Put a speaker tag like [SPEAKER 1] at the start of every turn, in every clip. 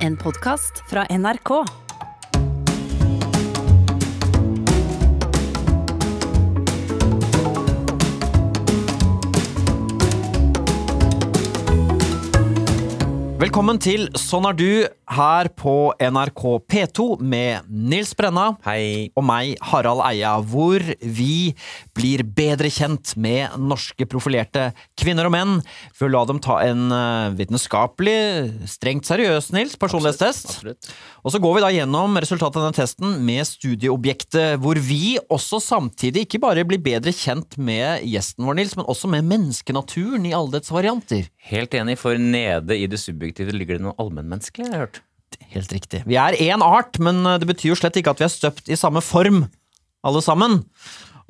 [SPEAKER 1] En podkast fra NRK.
[SPEAKER 2] Velkommen til Sånn er du her på NRK P2 med Nils Brenna
[SPEAKER 3] Hei.
[SPEAKER 2] og meg, Harald Eia, hvor vi blir bedre kjent med norske profilerte kvinner og menn ved å la dem ta en eh, vitenskapelig, strengt seriøs, Nils, personlighetstest.
[SPEAKER 3] Absolutt.
[SPEAKER 2] Og så går vi da gjennom resultatet av denne testen med studieobjektet, hvor vi også samtidig ikke bare blir bedre kjent med gjesten vår, Nils, men også med menneskenaturen i alle dets varianter.
[SPEAKER 3] Helt enig, for nede i det subjektive ligger det noe allmennmenneskelig, har jeg hørt.
[SPEAKER 2] Helt riktig. Vi er én art, men eh, det betyr jo slett ikke at vi er støpt i samme form, alle sammen.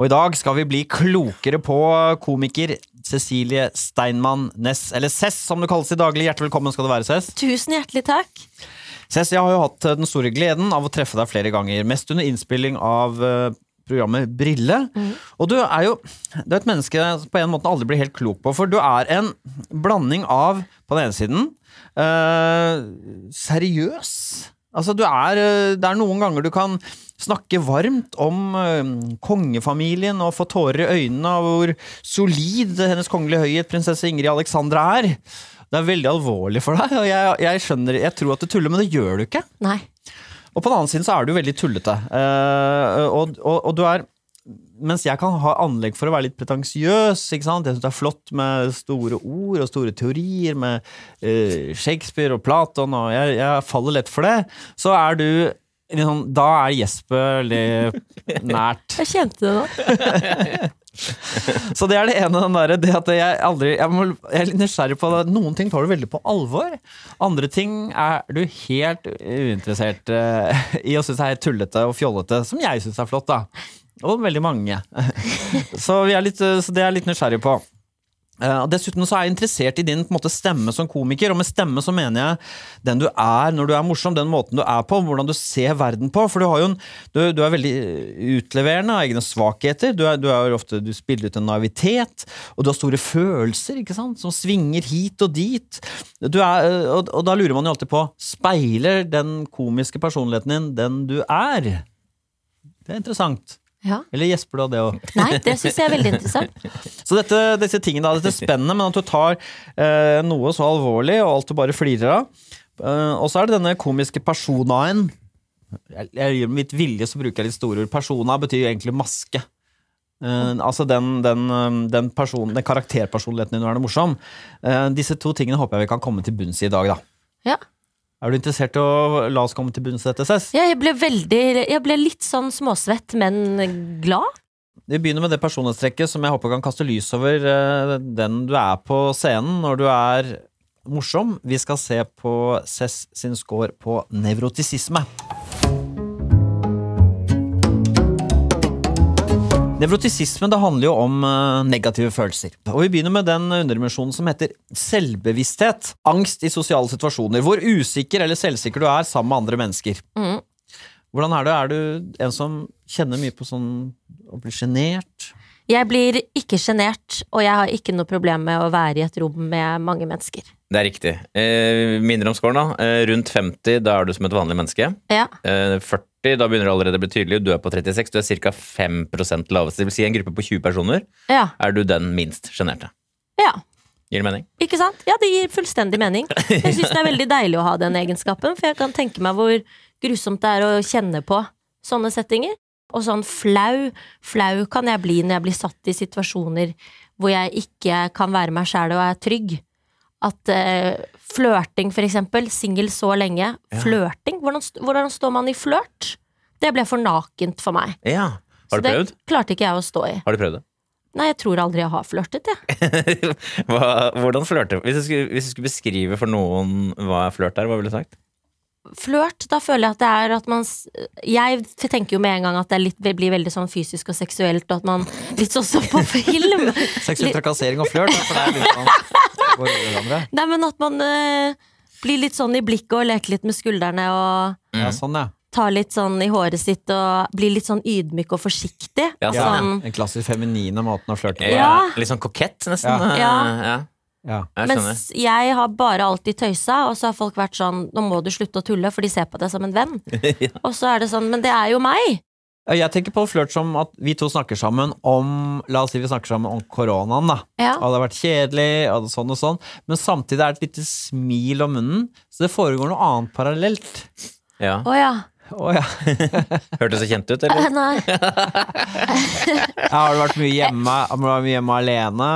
[SPEAKER 2] Og i dag skal vi bli klokere på komiker Cecilie Steinmann Næss, eller Cess som du kalles i daglig. Hjertelig velkommen skal du være, Cess.
[SPEAKER 4] Tusen hjertelig takk.
[SPEAKER 2] Cess, jeg har jo hatt eh, den store gleden av å treffe deg flere ganger, mest under innspilling av eh, programmet Brille. Og du er jo du er et menneske jeg på en måte aldri blir helt klok på, for du er en blanding av, på den ene siden, eh, seriøs. Altså, du er, eh, det er noen ganger du kan snakke varmt om eh, kongefamilien og få tårer i øynene av hvor solid hennes kongelige høyhet, prinsesse Ingrid Alexandra, er. Det er veldig alvorlig for deg, og jeg, jeg skjønner, jeg tror at du tuller, men det gjør du ikke.
[SPEAKER 4] Nei.
[SPEAKER 2] Og på den annen side så er du veldig tullete. Eh, og, og, og du er Mens jeg kan ha anlegg for å være litt pretensiøs. ikke sant? Jeg syns det er flott med store ord og store teorier, med eh, Shakespeare og Platon, og jeg, jeg faller lett for det. Så er du litt sånn Da er Jesper litt nært.
[SPEAKER 4] Jeg kjente det nå.
[SPEAKER 2] Så det er det ene, den derre det at jeg aldri jeg, må, jeg er litt nysgjerrig på det. Noen ting tar du veldig på alvor. Andre ting er du helt uinteressert eh, i og syns er helt tullete og fjollete, som jeg syns er flott, da. Og veldig mange. så, vi er litt, eh, så det er jeg litt nysgjerrig på. Eh, og dessuten så er jeg interessert i din på en måte, stemme som komiker, og med stemme så mener jeg den du er når du er morsom, den måten du er på, hvordan du ser verden på. For du, har jo en, du, du er veldig eh, utleverende av egne svakheter. Du, er, du, er jo ofte, du spiller ut en naivitet, og du har store følelser ikke sant? som svinger hit og dit. Du er, eh, og, og da lurer man jo alltid på speiler den komiske personligheten din den du er. Det er interessant.
[SPEAKER 4] Ja.
[SPEAKER 2] Eller gjesper du av det òg?
[SPEAKER 4] Nei, det syns jeg er veldig interessant.
[SPEAKER 2] Så dette, disse tingene, da, dette spennet, men at du tar eh, noe så alvorlig, og alt du bare flirer av. Eh, og så er det denne komiske personaen. Jeg, jeg gjør mitt vilje, så bruker jeg litt store ord. Persona betyr jo egentlig maske. Eh, altså den, den, eh, den, person, den karakterpersonligheten din, nå er det morsom. Eh, disse to tingene håper jeg vi kan komme til bunns i i dag, da.
[SPEAKER 4] Ja.
[SPEAKER 2] Er du interessert i å la oss komme til bunns i dette, Cess?
[SPEAKER 4] Jeg ble veldig Jeg ble litt sånn småsvett, men glad.
[SPEAKER 2] Vi begynner med det personlighetstrekket som jeg håper kan kaste lys over eh, den du er på scenen når du er morsom. Vi skal se på Cess sin score på nevrotisisme. Nevrotisisme det handler jo om eh, negative følelser. Og Vi begynner med den underdimensjonen som heter selvbevissthet. Angst i sosiale situasjoner. Hvor usikker eller selvsikker du er sammen med andre mennesker.
[SPEAKER 4] Mm.
[SPEAKER 2] Hvordan er du? Er du en som kjenner mye på sånn å bli sjenert?
[SPEAKER 4] Jeg blir ikke sjenert, og jeg har ikke noe problem med å være i et rom med mange mennesker.
[SPEAKER 3] Det er riktig. Eh, minner om scoren, da. Eh, rundt 50, da er du som et vanlig menneske.
[SPEAKER 4] Ja.
[SPEAKER 3] Eh, 40, da begynner det allerede å bli tydelig. Du er på 36, du er ca. 5 lavest. Det vil si en gruppe på 20 personer
[SPEAKER 4] Ja.
[SPEAKER 3] er du den minst sjenerte.
[SPEAKER 4] ja.
[SPEAKER 3] Gir det mening?
[SPEAKER 4] Ikke sant? Ja, det gir fullstendig mening. Jeg syns det er veldig deilig å ha den egenskapen, for jeg kan tenke meg hvor grusomt det er å kjenne på sånne settinger. Og sånn flau, flau kan jeg bli når jeg blir satt i situasjoner hvor jeg ikke kan være meg sjæl og er trygg. At eh, flørting, for eksempel, singel så lenge. Flørting? Hvordan, st- hvordan står man i flørt? Det ble for nakent for meg.
[SPEAKER 3] Ja. Har du
[SPEAKER 4] så
[SPEAKER 3] prøvd?
[SPEAKER 4] det klarte ikke jeg å stå i.
[SPEAKER 3] Har du prøvd det?
[SPEAKER 4] Nei, jeg tror aldri jeg har flørtet, jeg.
[SPEAKER 3] hva, hvordan flørte hvis, du skulle- hvis du skulle beskrive for noen hva flørt er, hva ville du sagt?
[SPEAKER 4] flørt, da føler jeg at det er at man s- Jeg tenker jo med en gang at det er litt, det blir veldig sånn fysisk og seksuelt, og at man Litt sånn som på film.
[SPEAKER 2] Seksuell
[SPEAKER 4] Litt-
[SPEAKER 2] trakassering og flørt? da, For det er litt sånn går over hverandre.
[SPEAKER 4] Nei, men at man eh, blir litt sånn i blikket og leker litt med skuldrene og
[SPEAKER 2] Ja, sånn, ja.
[SPEAKER 4] tar litt sånn i håret sitt og blir litt sånn ydmyk og forsiktig.
[SPEAKER 3] Ja,
[SPEAKER 2] ja.
[SPEAKER 3] sånn,
[SPEAKER 4] Sånn
[SPEAKER 2] Den klassisk feminine måten å flørte på.
[SPEAKER 4] Ja.
[SPEAKER 3] Litt sånn kokett, nesten.
[SPEAKER 2] Ja.
[SPEAKER 3] Eh,
[SPEAKER 4] Ja.
[SPEAKER 3] ja.
[SPEAKER 2] Ja.
[SPEAKER 3] Jeg skjønner.
[SPEAKER 4] Mens jeg har bare alltid tøysa, og så har folk vært sånn Nå må du slutte å tulle, for de ser på deg som en venn. Og så er det sånn Men det er jo meg!
[SPEAKER 2] Jeg tenker på flørt som at vi to snakker sammen om La oss si vi snakker sammen om koronaen, da.
[SPEAKER 4] Ja.
[SPEAKER 2] Og det har vært kjedelig, og sånn og sånn. Men samtidig er det et lite smil om munnen, så det foregår noe annet parallelt.
[SPEAKER 3] Ja.
[SPEAKER 4] Å ja.
[SPEAKER 2] Å ja.
[SPEAKER 3] Hørtes det kjent ut, eller?
[SPEAKER 4] Nei.
[SPEAKER 2] Ja, Har du vært mye hjemme, har du vært mye hjemme alene?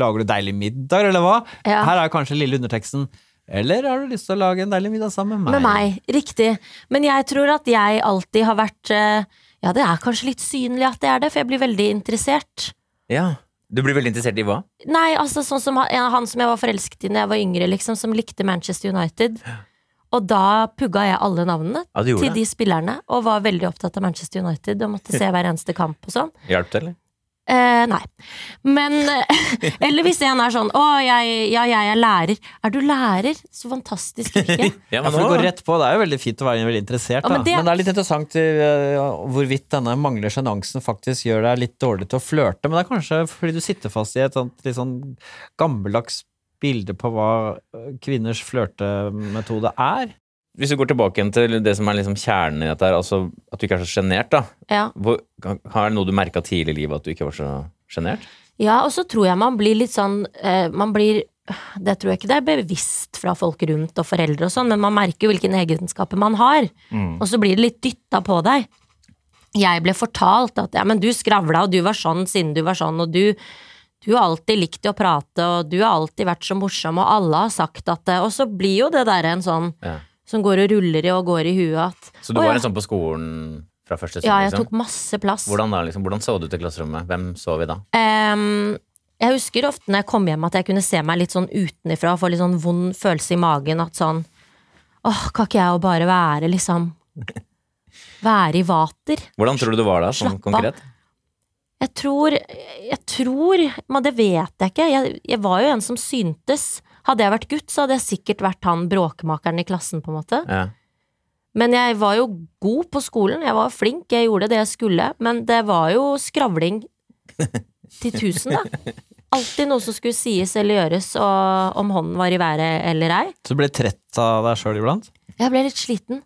[SPEAKER 2] Lager du deilig middag, eller hva?
[SPEAKER 4] Ja.
[SPEAKER 2] Her er kanskje lille underteksten. Eller har du lyst til å lage en deilig middag sammen med meg?
[SPEAKER 4] Med meg. Riktig. Men jeg tror at jeg alltid har vært eh, Ja, det er kanskje litt synlig at det er det, for jeg blir veldig interessert.
[SPEAKER 3] Ja. Du blir veldig interessert i hva?
[SPEAKER 4] Nei, altså sånn som han, han som jeg var forelsket i da jeg var yngre, liksom, som likte Manchester United. Og da pugga jeg alle navnene
[SPEAKER 3] Ja, du
[SPEAKER 4] til
[SPEAKER 3] gjorde det.
[SPEAKER 4] de spillerne, og var veldig opptatt av Manchester United og måtte se hver eneste kamp og sånn.
[SPEAKER 3] Hjalp det, eller?
[SPEAKER 4] Eh, nei. Men eh, Eller hvis en er sånn Å, jeg, ja, jeg er lærer. Er du lærer? Så fantastisk yrke.
[SPEAKER 3] Ja,
[SPEAKER 2] Ja, for det
[SPEAKER 3] nå-
[SPEAKER 2] går rett på, det er jo veldig fint å være veldig interessert,
[SPEAKER 4] Ja,
[SPEAKER 2] da.
[SPEAKER 4] men
[SPEAKER 2] men,
[SPEAKER 4] det-
[SPEAKER 2] det... er litt interessant eh, hvorvidt denne manglende sjenansen faktisk gjør deg litt dårlig til å flørte, men det er kanskje fordi du sitter fast i et sånt litt sånn gammeldags bilde på hva eh, kvinners flørtemetode er.
[SPEAKER 3] Hvis du går tilbake igjen til det som er liksom kjernen i dette her, altså at du ikke er så sjenert, da.
[SPEAKER 4] Ja.
[SPEAKER 3] Hvor, har det noe du merka tidlig i livet at du ikke var så sjenert?
[SPEAKER 4] ja, og så tror jeg man blir litt sånn eh, Man blir Det tror jeg ikke det er bevisst fra folk rundt og foreldre og sånn, men man merker jo hvilke egenskaper man har.
[SPEAKER 3] Mm.
[SPEAKER 4] Og så blir det litt dytta på deg. Jeg ble fortalt at ja, men du skravla, og du var sånn siden du var sånn, og du du har alltid likt å prate, og du har alltid vært så morsom, og alle har sagt at det Og så blir jo det der en sånn
[SPEAKER 3] Ja.
[SPEAKER 4] som går og ruller i og går i huet at
[SPEAKER 3] Så du
[SPEAKER 4] «Å,
[SPEAKER 3] var
[SPEAKER 4] ja.
[SPEAKER 3] en sånn på skolen fra første stund?
[SPEAKER 4] Ja, jeg
[SPEAKER 3] liksom?
[SPEAKER 4] tok masse plass.
[SPEAKER 3] hvordan, da, liksom, hvordan så du ut i klasserommet? Hvem så vi da?
[SPEAKER 4] Ehm, jeg husker ofte når jeg kom hjem at jeg kunne se meg litt sånn utenifra og få litt sånn vond følelse i magen. At sånn Åh, kan ikke jeg jo bare være liksom Være i vater?
[SPEAKER 3] Hvordan tror du du var da, sånn
[SPEAKER 4] Slapp av.
[SPEAKER 3] konkret?
[SPEAKER 4] Jeg tror Jeg tror Men det vet jeg ikke. Jeg, jeg var jo en som syntes. Hadde jeg vært gutt, så hadde jeg sikkert vært han bråkmakeren i klassen, på en måte.
[SPEAKER 3] Ja.
[SPEAKER 4] Men jeg var jo god på skolen, jeg var flink, jeg gjorde det jeg skulle, men det var jo skravling til tusen, da. Alltid noe som skulle sies eller gjøres, og om hånden var i været eller ei.
[SPEAKER 2] Så du ble trett av deg sjøl iblant?
[SPEAKER 4] Jeg ble litt sliten.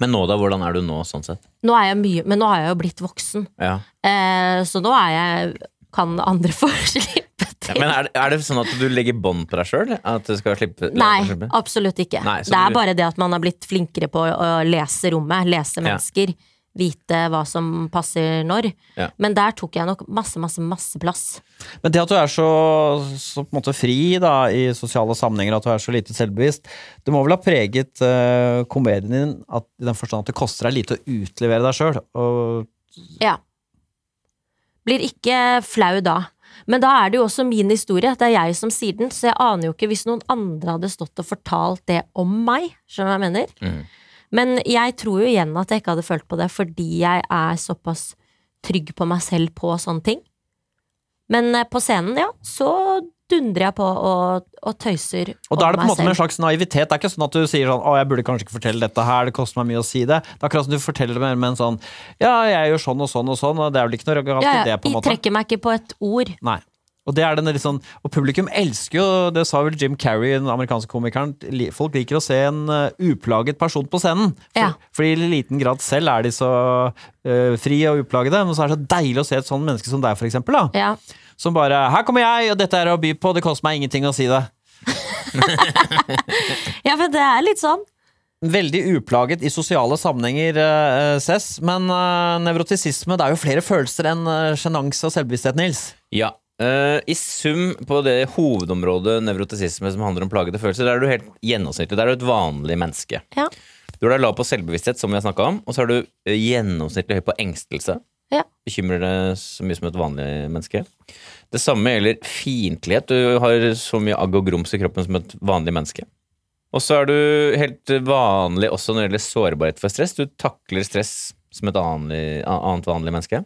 [SPEAKER 3] Men nå da, hvordan er du nå sånn sett?
[SPEAKER 4] Nå er jeg mye, men nå har jeg jo blitt voksen,
[SPEAKER 3] Ja.
[SPEAKER 4] eh, så nå er jeg Kan andre få slippe
[SPEAKER 3] Ja,
[SPEAKER 4] til?
[SPEAKER 3] Men er, er det sånn at du legger bånd på deg sjøl? At du skal slippe?
[SPEAKER 4] Nei,
[SPEAKER 3] slippe?
[SPEAKER 4] absolutt ikke.
[SPEAKER 3] Nei, så
[SPEAKER 4] det er
[SPEAKER 3] du-
[SPEAKER 4] bare det at man har blitt flinkere på å å lese rommet,
[SPEAKER 3] Ja.
[SPEAKER 4] lese mennesker. Vite hva som passer når.
[SPEAKER 3] Ja.
[SPEAKER 4] Men der tok jeg nok masse, masse, masse plass.
[SPEAKER 2] Men det at du er så, så på en måte fri da, i sosiale sammenhenger, at du er så lite selvbevisst, det må vel ha preget eh, komedien din at, i den forstand at det koster deg lite å utlevere deg sjøl? Og
[SPEAKER 4] Ja. Blir ikke flau da. Men da er det jo også min historie. Det er jeg som sier den, så jeg aner jo ikke hvis noen andre hadde stått og fortalt det om meg. Skjønner du hva jeg mener?
[SPEAKER 3] Mhm.
[SPEAKER 4] Men jeg tror jo igjen at jeg ikke hadde følt på det fordi jeg er såpass trygg på meg selv på sånne ting. Men eh, på scenen, ja, så dundrer jeg på og, og tøyser
[SPEAKER 2] Og da er det på en
[SPEAKER 4] meg
[SPEAKER 2] måte med en slags naivitet. Det er ikke sånn at du sier sånn 'Å, jeg burde kanskje ikke fortelle dette her, det koster meg mye å si det'. Det er akkurat som du forteller det med- med en sånn 'Ja, jeg gjør sånn og sånn og sånn', og det er vel ikke noe arrogant
[SPEAKER 4] ja,
[SPEAKER 2] i
[SPEAKER 4] ja,
[SPEAKER 2] det, på en
[SPEAKER 4] Jeg
[SPEAKER 2] måte.
[SPEAKER 4] trekker meg ikke på et ord.
[SPEAKER 2] Nei. Og det er den litt sånn Og publikum elsker jo Det sa vel Jim Carrey, den amerikanske komikeren. li- Folk liker å se en eh, uplaget person på scenen. For,
[SPEAKER 4] Ja.
[SPEAKER 2] Fordi i liten grad selv er de så eh, fri og uplagede. Men så er det så deilig å se et sånn menneske som deg, for eksempel. Da.
[SPEAKER 4] Ja.
[SPEAKER 2] Som bare 'Her kommer jeg, og dette er å by på, det koster meg ingenting å si det'.
[SPEAKER 4] ja, for det er litt sånn.
[SPEAKER 2] Veldig uplaget i sosiale sammenhenger, eh, Cess. Men eh, nevrotisisme, det er jo flere følelser enn eh, sjenanse og selvbevissthet, Nils.
[SPEAKER 3] Ja. Eh, I sum på det hovedområdet nevrotisisme som handler om plagede følelser, der er du helt gjennomsnittlig. Der er du et vanlig menneske.
[SPEAKER 4] Ja.
[SPEAKER 3] Du har deg lav på selvbevissthet, som vi har snakka om, og så er du eh, gjennomsnittlig høy på engstelse.
[SPEAKER 4] Ja.
[SPEAKER 3] Bekymrer deg så mye som et vanlig menneske. Det samme gjelder fiendtlighet. Du har så mye agg og grums i kroppen som et vanlig menneske. Og så er du helt vanlig også når det gjelder sårbarhet for stress. Du takler stress som et annet, annet vanlig menneske.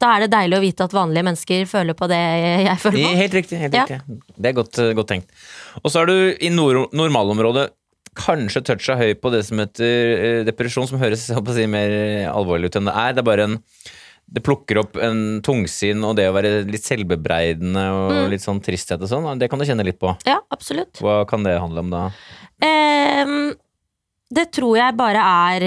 [SPEAKER 4] Da er det deilig å vite at vanlige mennesker føler på det jeg føler på.
[SPEAKER 3] Helt riktig. helt
[SPEAKER 4] Ja.
[SPEAKER 3] riktig. Det er godt, godt tenkt. Og så er du i nor normalområdet kanskje toucha høy på det som heter eh, depresjon, som høres jeg holdt på å si, mer eh, alvorlig ut enn det er. Det er bare en det plukker opp en tungsinn og det å være litt selvbebreidende og
[SPEAKER 4] Mm.
[SPEAKER 3] litt sånn tristhet og sånn. Det kan du kjenne litt på.
[SPEAKER 4] Ja, absolutt.
[SPEAKER 3] Hva kan det handle om da?
[SPEAKER 4] Ehm, det tror jeg bare er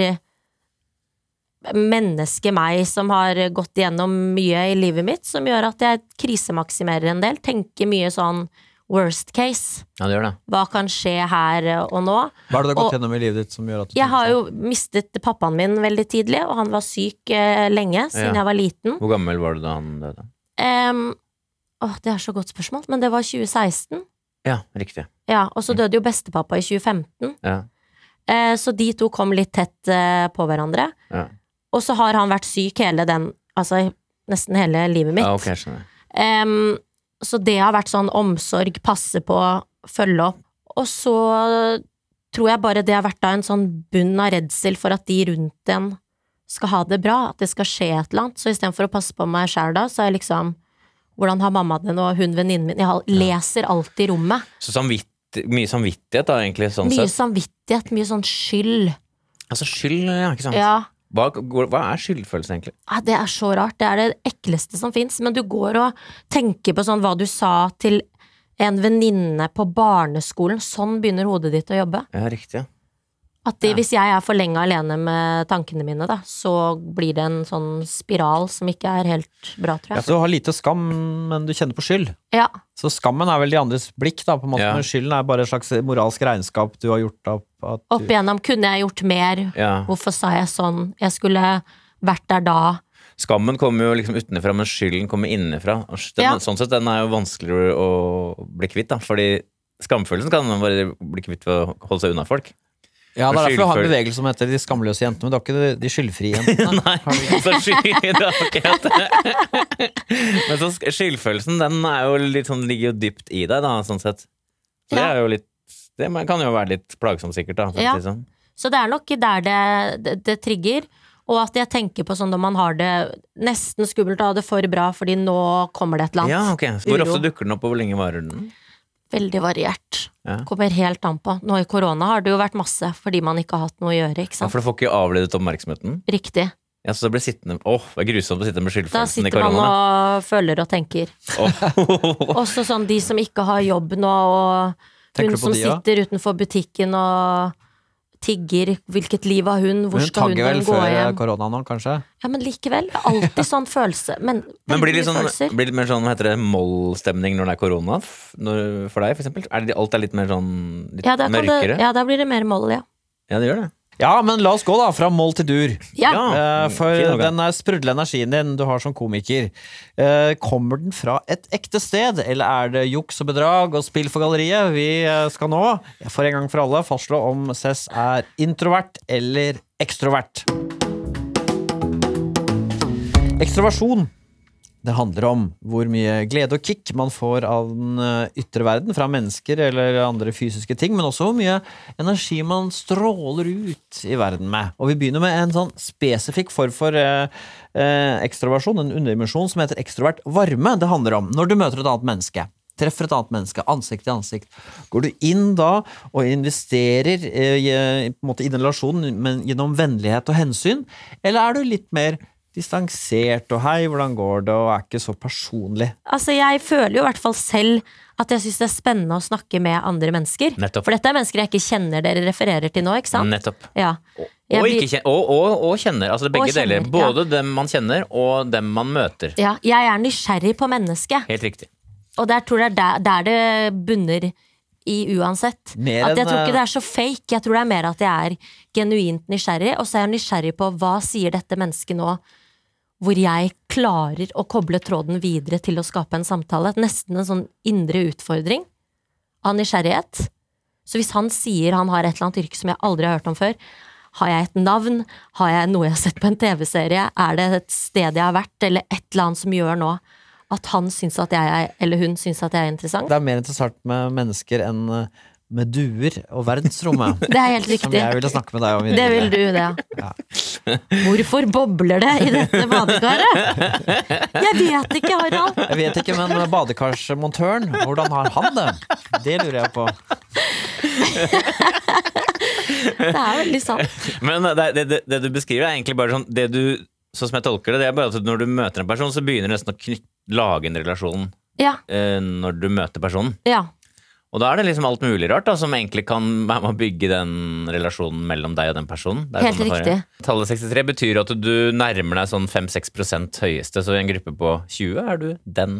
[SPEAKER 4] mennesket meg som har gått gjennom mye i livet mitt, som gjør at jeg krisemaksimerer en del. Tenker mye sånn worst case.
[SPEAKER 3] Ja, det gjør det.
[SPEAKER 4] Hva kan skje her og nå?
[SPEAKER 2] Hva er det du har
[SPEAKER 4] Og-
[SPEAKER 2] gått gjennom i livet ditt som gjør at du
[SPEAKER 4] Jeg
[SPEAKER 2] tenker
[SPEAKER 4] har
[SPEAKER 2] sånn?
[SPEAKER 4] jo mistet pappaen min veldig tidlig, og han var syk eh, lenge, siden
[SPEAKER 3] Ja.
[SPEAKER 4] jeg var liten.
[SPEAKER 3] Hvor gammel var du da han døde?
[SPEAKER 4] Um, åh, det er så godt spørsmål, men det var 2016.
[SPEAKER 3] Ja, riktig.
[SPEAKER 4] Ja, og så døde jo bestepappa i 2015,
[SPEAKER 3] Mm. Ja.
[SPEAKER 4] eh, så de to kom litt tett eh, på hverandre.
[SPEAKER 3] Ja.
[SPEAKER 4] Og så har han vært syk hele den, altså nesten hele livet mitt.
[SPEAKER 3] Ja, ok, jeg skjønner.
[SPEAKER 4] Em, så det har vært sånn omsorg, passe på, følge opp. Og så tror jeg bare det har vært da en sånn bunn av redsel for at de rundt en skal ha det bra, at det skal skje et eller annet. Så istedenfor å passe på meg sjæl da, så er jeg liksom Hvordan har mamma det nå, hun venninnen min Jeg har- leser alltid rommet.
[SPEAKER 3] Så samvitt, mye samvittighet da, egentlig, sånn
[SPEAKER 4] Mye
[SPEAKER 3] sett.
[SPEAKER 4] samvittighet, mye sånn skyld.
[SPEAKER 3] Altså skyld, ja, ikke sant?
[SPEAKER 4] Ja.
[SPEAKER 3] Hva, går- hva er skyldfølelse, egentlig?
[SPEAKER 4] Ja, det er så rart. Det er det ekleste som fins. Men du går og tenker på sånn hva du sa til en venninne på barneskolen. Sånn begynner hodet ditt å jobbe.
[SPEAKER 3] Ja, riktig. ja.
[SPEAKER 4] At det,
[SPEAKER 3] Ja.
[SPEAKER 4] Hvis jeg er for lenge alene med tankene mine, da, så blir det en sånn spiral som ikke er helt bra, tror
[SPEAKER 2] Ja,
[SPEAKER 4] jeg.
[SPEAKER 2] så du har lite skam, men du kjenner på skyld.
[SPEAKER 4] Ja,
[SPEAKER 2] Så skammen er vel de andres blikk, da, på en måte.
[SPEAKER 3] Ja.
[SPEAKER 2] Men skylden er bare et slags moralsk regnskap du har gjort opp. At
[SPEAKER 4] Opp
[SPEAKER 2] du,
[SPEAKER 4] igjennom. Kunne jeg gjort mer?
[SPEAKER 3] Ja.
[SPEAKER 4] Hvorfor sa jeg sånn? Jeg skulle vært der da.
[SPEAKER 3] Skammen kommer jo liksom utenfra, men skylden kommer innenfra. Og Den,
[SPEAKER 4] Ja.
[SPEAKER 3] Sånn sett, den er jo vanskeligere å bli kvitt, da. Fordi skamfølelsen kan man bare bli kvitt ved å holde seg unna folk.
[SPEAKER 2] ja, det er derfor du har en
[SPEAKER 3] skyldføl-
[SPEAKER 2] bevegelse som heter De skamløse jentene, men du har ikke de- De skyldfrie jentene.
[SPEAKER 3] Nei, så skyld, det er akkurat det. Men så sk- skyldfølelsen, den er jo litt sånn, ligger jo dypt i deg, da, sånn sett. Så det
[SPEAKER 4] Ja.
[SPEAKER 3] er jo litt Det kan jo være litt plagsomt, sikkert, da. for å
[SPEAKER 4] Ja.
[SPEAKER 3] si det Sånn.
[SPEAKER 4] Så det er nok der det, det, det trigger. Og at jeg tenker på sånn når man har det nesten skummelt og har det for bra, fordi nå kommer det et eller
[SPEAKER 3] Ja,
[SPEAKER 4] annet.
[SPEAKER 3] ok. Så hvor
[SPEAKER 4] Uro.
[SPEAKER 3] ofte dukker den opp, og hvor lenge varer den?
[SPEAKER 4] Veldig variert.
[SPEAKER 3] Ja.
[SPEAKER 4] Kommer helt an på. Nå i korona har det jo vært masse fordi man ikke har hatt noe å gjøre,
[SPEAKER 3] Ja,
[SPEAKER 4] ikke sant.
[SPEAKER 3] for du får ikke avledet oppmerksomheten.
[SPEAKER 4] Riktig.
[SPEAKER 3] Ja, så det blir sittende Åh, det er grusomt å sitte med
[SPEAKER 4] Da
[SPEAKER 3] skyldfølelsen i
[SPEAKER 4] sitter man
[SPEAKER 3] korona.
[SPEAKER 4] og føler og tenker.
[SPEAKER 3] Åh.
[SPEAKER 4] Også sånn de som ikke har jobb nå, og
[SPEAKER 2] Tenker
[SPEAKER 4] hun
[SPEAKER 2] du på
[SPEAKER 4] som
[SPEAKER 2] de, ja?
[SPEAKER 4] sitter utenfor butikken og tigger. Hvilket liv har hun? Hvor
[SPEAKER 2] Hun
[SPEAKER 4] skal hun
[SPEAKER 2] tagger vel
[SPEAKER 4] vel gå
[SPEAKER 2] før eh,
[SPEAKER 4] hjem?
[SPEAKER 2] korona nå, kanskje?
[SPEAKER 4] Ja, men likevel. det er Alltid sånn følelse. Men,
[SPEAKER 3] Men blir det
[SPEAKER 4] veldig
[SPEAKER 3] litt,
[SPEAKER 4] mye
[SPEAKER 3] sånn, blir det litt mer sånn, hva heter det, mollstemning når det er korona? F- Når, for deg, for eksempel? Er det, alt er litt mer sånn litt
[SPEAKER 4] Ja, da kan det,
[SPEAKER 3] mørkere? ja.
[SPEAKER 4] ja, da blir det mer moll, ja.
[SPEAKER 3] det gjør det.
[SPEAKER 2] Ja, men la oss gå, da. Fra moll til dur.
[SPEAKER 4] ja.
[SPEAKER 2] Eh, for
[SPEAKER 3] fin overgang.
[SPEAKER 2] den der sprudlende energien din du har som komiker, eh, kommer den fra et ekte sted, eller er det juks og bedrag og spill for galleriet? Vi eh, skal nå, for en gang for alle, fastslå om Cess er introvert eller ekstrovert. Ekstroversjon. Det handler om hvor mye glede og kick man får av den eh, ytre verden, fra mennesker eller andre fysiske ting, men også hvor mye energi man stråler ut i verden med. Og vi begynner med en sånn spesifikk form for eh, eh, ekstroversjon, en underdimensjon som heter ekstrovert varme. Det handler om når du møter et annet menneske. Treffer et annet menneske ansikt til ansikt. Går du inn da og investerer eh, i, eh, på en måte i den relasjonen men gjennom vennlighet og hensyn, eller er du litt mer distansert og hei, hvordan går det, og er ikke så personlig.
[SPEAKER 4] Altså, jeg føler jo i hvert fall selv at jeg syns det er spennende å snakke med andre mennesker.
[SPEAKER 3] Nettopp.
[SPEAKER 4] For dette er mennesker jeg ikke kjenner dere refererer til nå, ikke sant?
[SPEAKER 3] Nettopp.
[SPEAKER 4] Ja. Jeg
[SPEAKER 3] Og,
[SPEAKER 4] blir-
[SPEAKER 3] ikke kjen- og, og, og kjenner. Altså det er
[SPEAKER 4] Og
[SPEAKER 3] begge
[SPEAKER 4] kjenner,
[SPEAKER 3] deler. Både dem man kjenner, og dem man møter.
[SPEAKER 4] ja. Jeg er nysgjerrig på mennesket,
[SPEAKER 3] Helt riktig.
[SPEAKER 4] og der tror jeg det er der, der det bunner i uansett.
[SPEAKER 2] Mer
[SPEAKER 4] at jeg
[SPEAKER 2] enn,
[SPEAKER 4] tror
[SPEAKER 2] eh,
[SPEAKER 4] ikke det er så fake. Jeg tror det er mer at jeg er genuint nysgjerrig, og så er jeg nysgjerrig på hva sier dette mennesket nå? Hvor jeg klarer å koble tråden videre til å skape en samtale. Nesten en sånn indre utfordring av nysgjerrighet. Så hvis han sier han har et eller annet yrke som jeg aldri har hørt om før, har jeg et navn? Har jeg noe jeg har sett på en TV-serie? Er det et sted jeg har vært, eller et eller annet som gjør nå at han syns at jeg er, eller hun syns at jeg er interessant?
[SPEAKER 2] Det er mer interessant med mennesker enn eh, med duer og verdensrommet.
[SPEAKER 4] Det er helt
[SPEAKER 2] Som
[SPEAKER 4] riktig.
[SPEAKER 2] jeg ville snakke med deg om. i
[SPEAKER 4] Det vil
[SPEAKER 2] dag.
[SPEAKER 4] du, det. ja. Hvorfor bobler det i dette badekaret? Jeg vet ikke, Harald.
[SPEAKER 2] Jeg vet ikke, men badekarsmontøren, hvordan har han det? Det lurer jeg på.
[SPEAKER 4] Det er veldig sant.
[SPEAKER 3] Men det, det, det, det du beskriver, er egentlig bare sånn det du sånn som jeg tolker det, det er bare at når du møter en person, så begynner du nesten å knytt, lage en relasjon
[SPEAKER 4] Ja,
[SPEAKER 3] eh, når du møter personen.
[SPEAKER 4] ja.
[SPEAKER 3] Og da er det liksom alt mulig rart da, som egentlig kan være med å bygge den relasjonen mellom deg og den personen. Det er
[SPEAKER 4] Helt
[SPEAKER 3] sånn man har-
[SPEAKER 4] riktig.
[SPEAKER 3] Tallet 63 betyr at du nærmer deg sånn 5-6 prosent høyeste, så i en gruppe på 20 er du den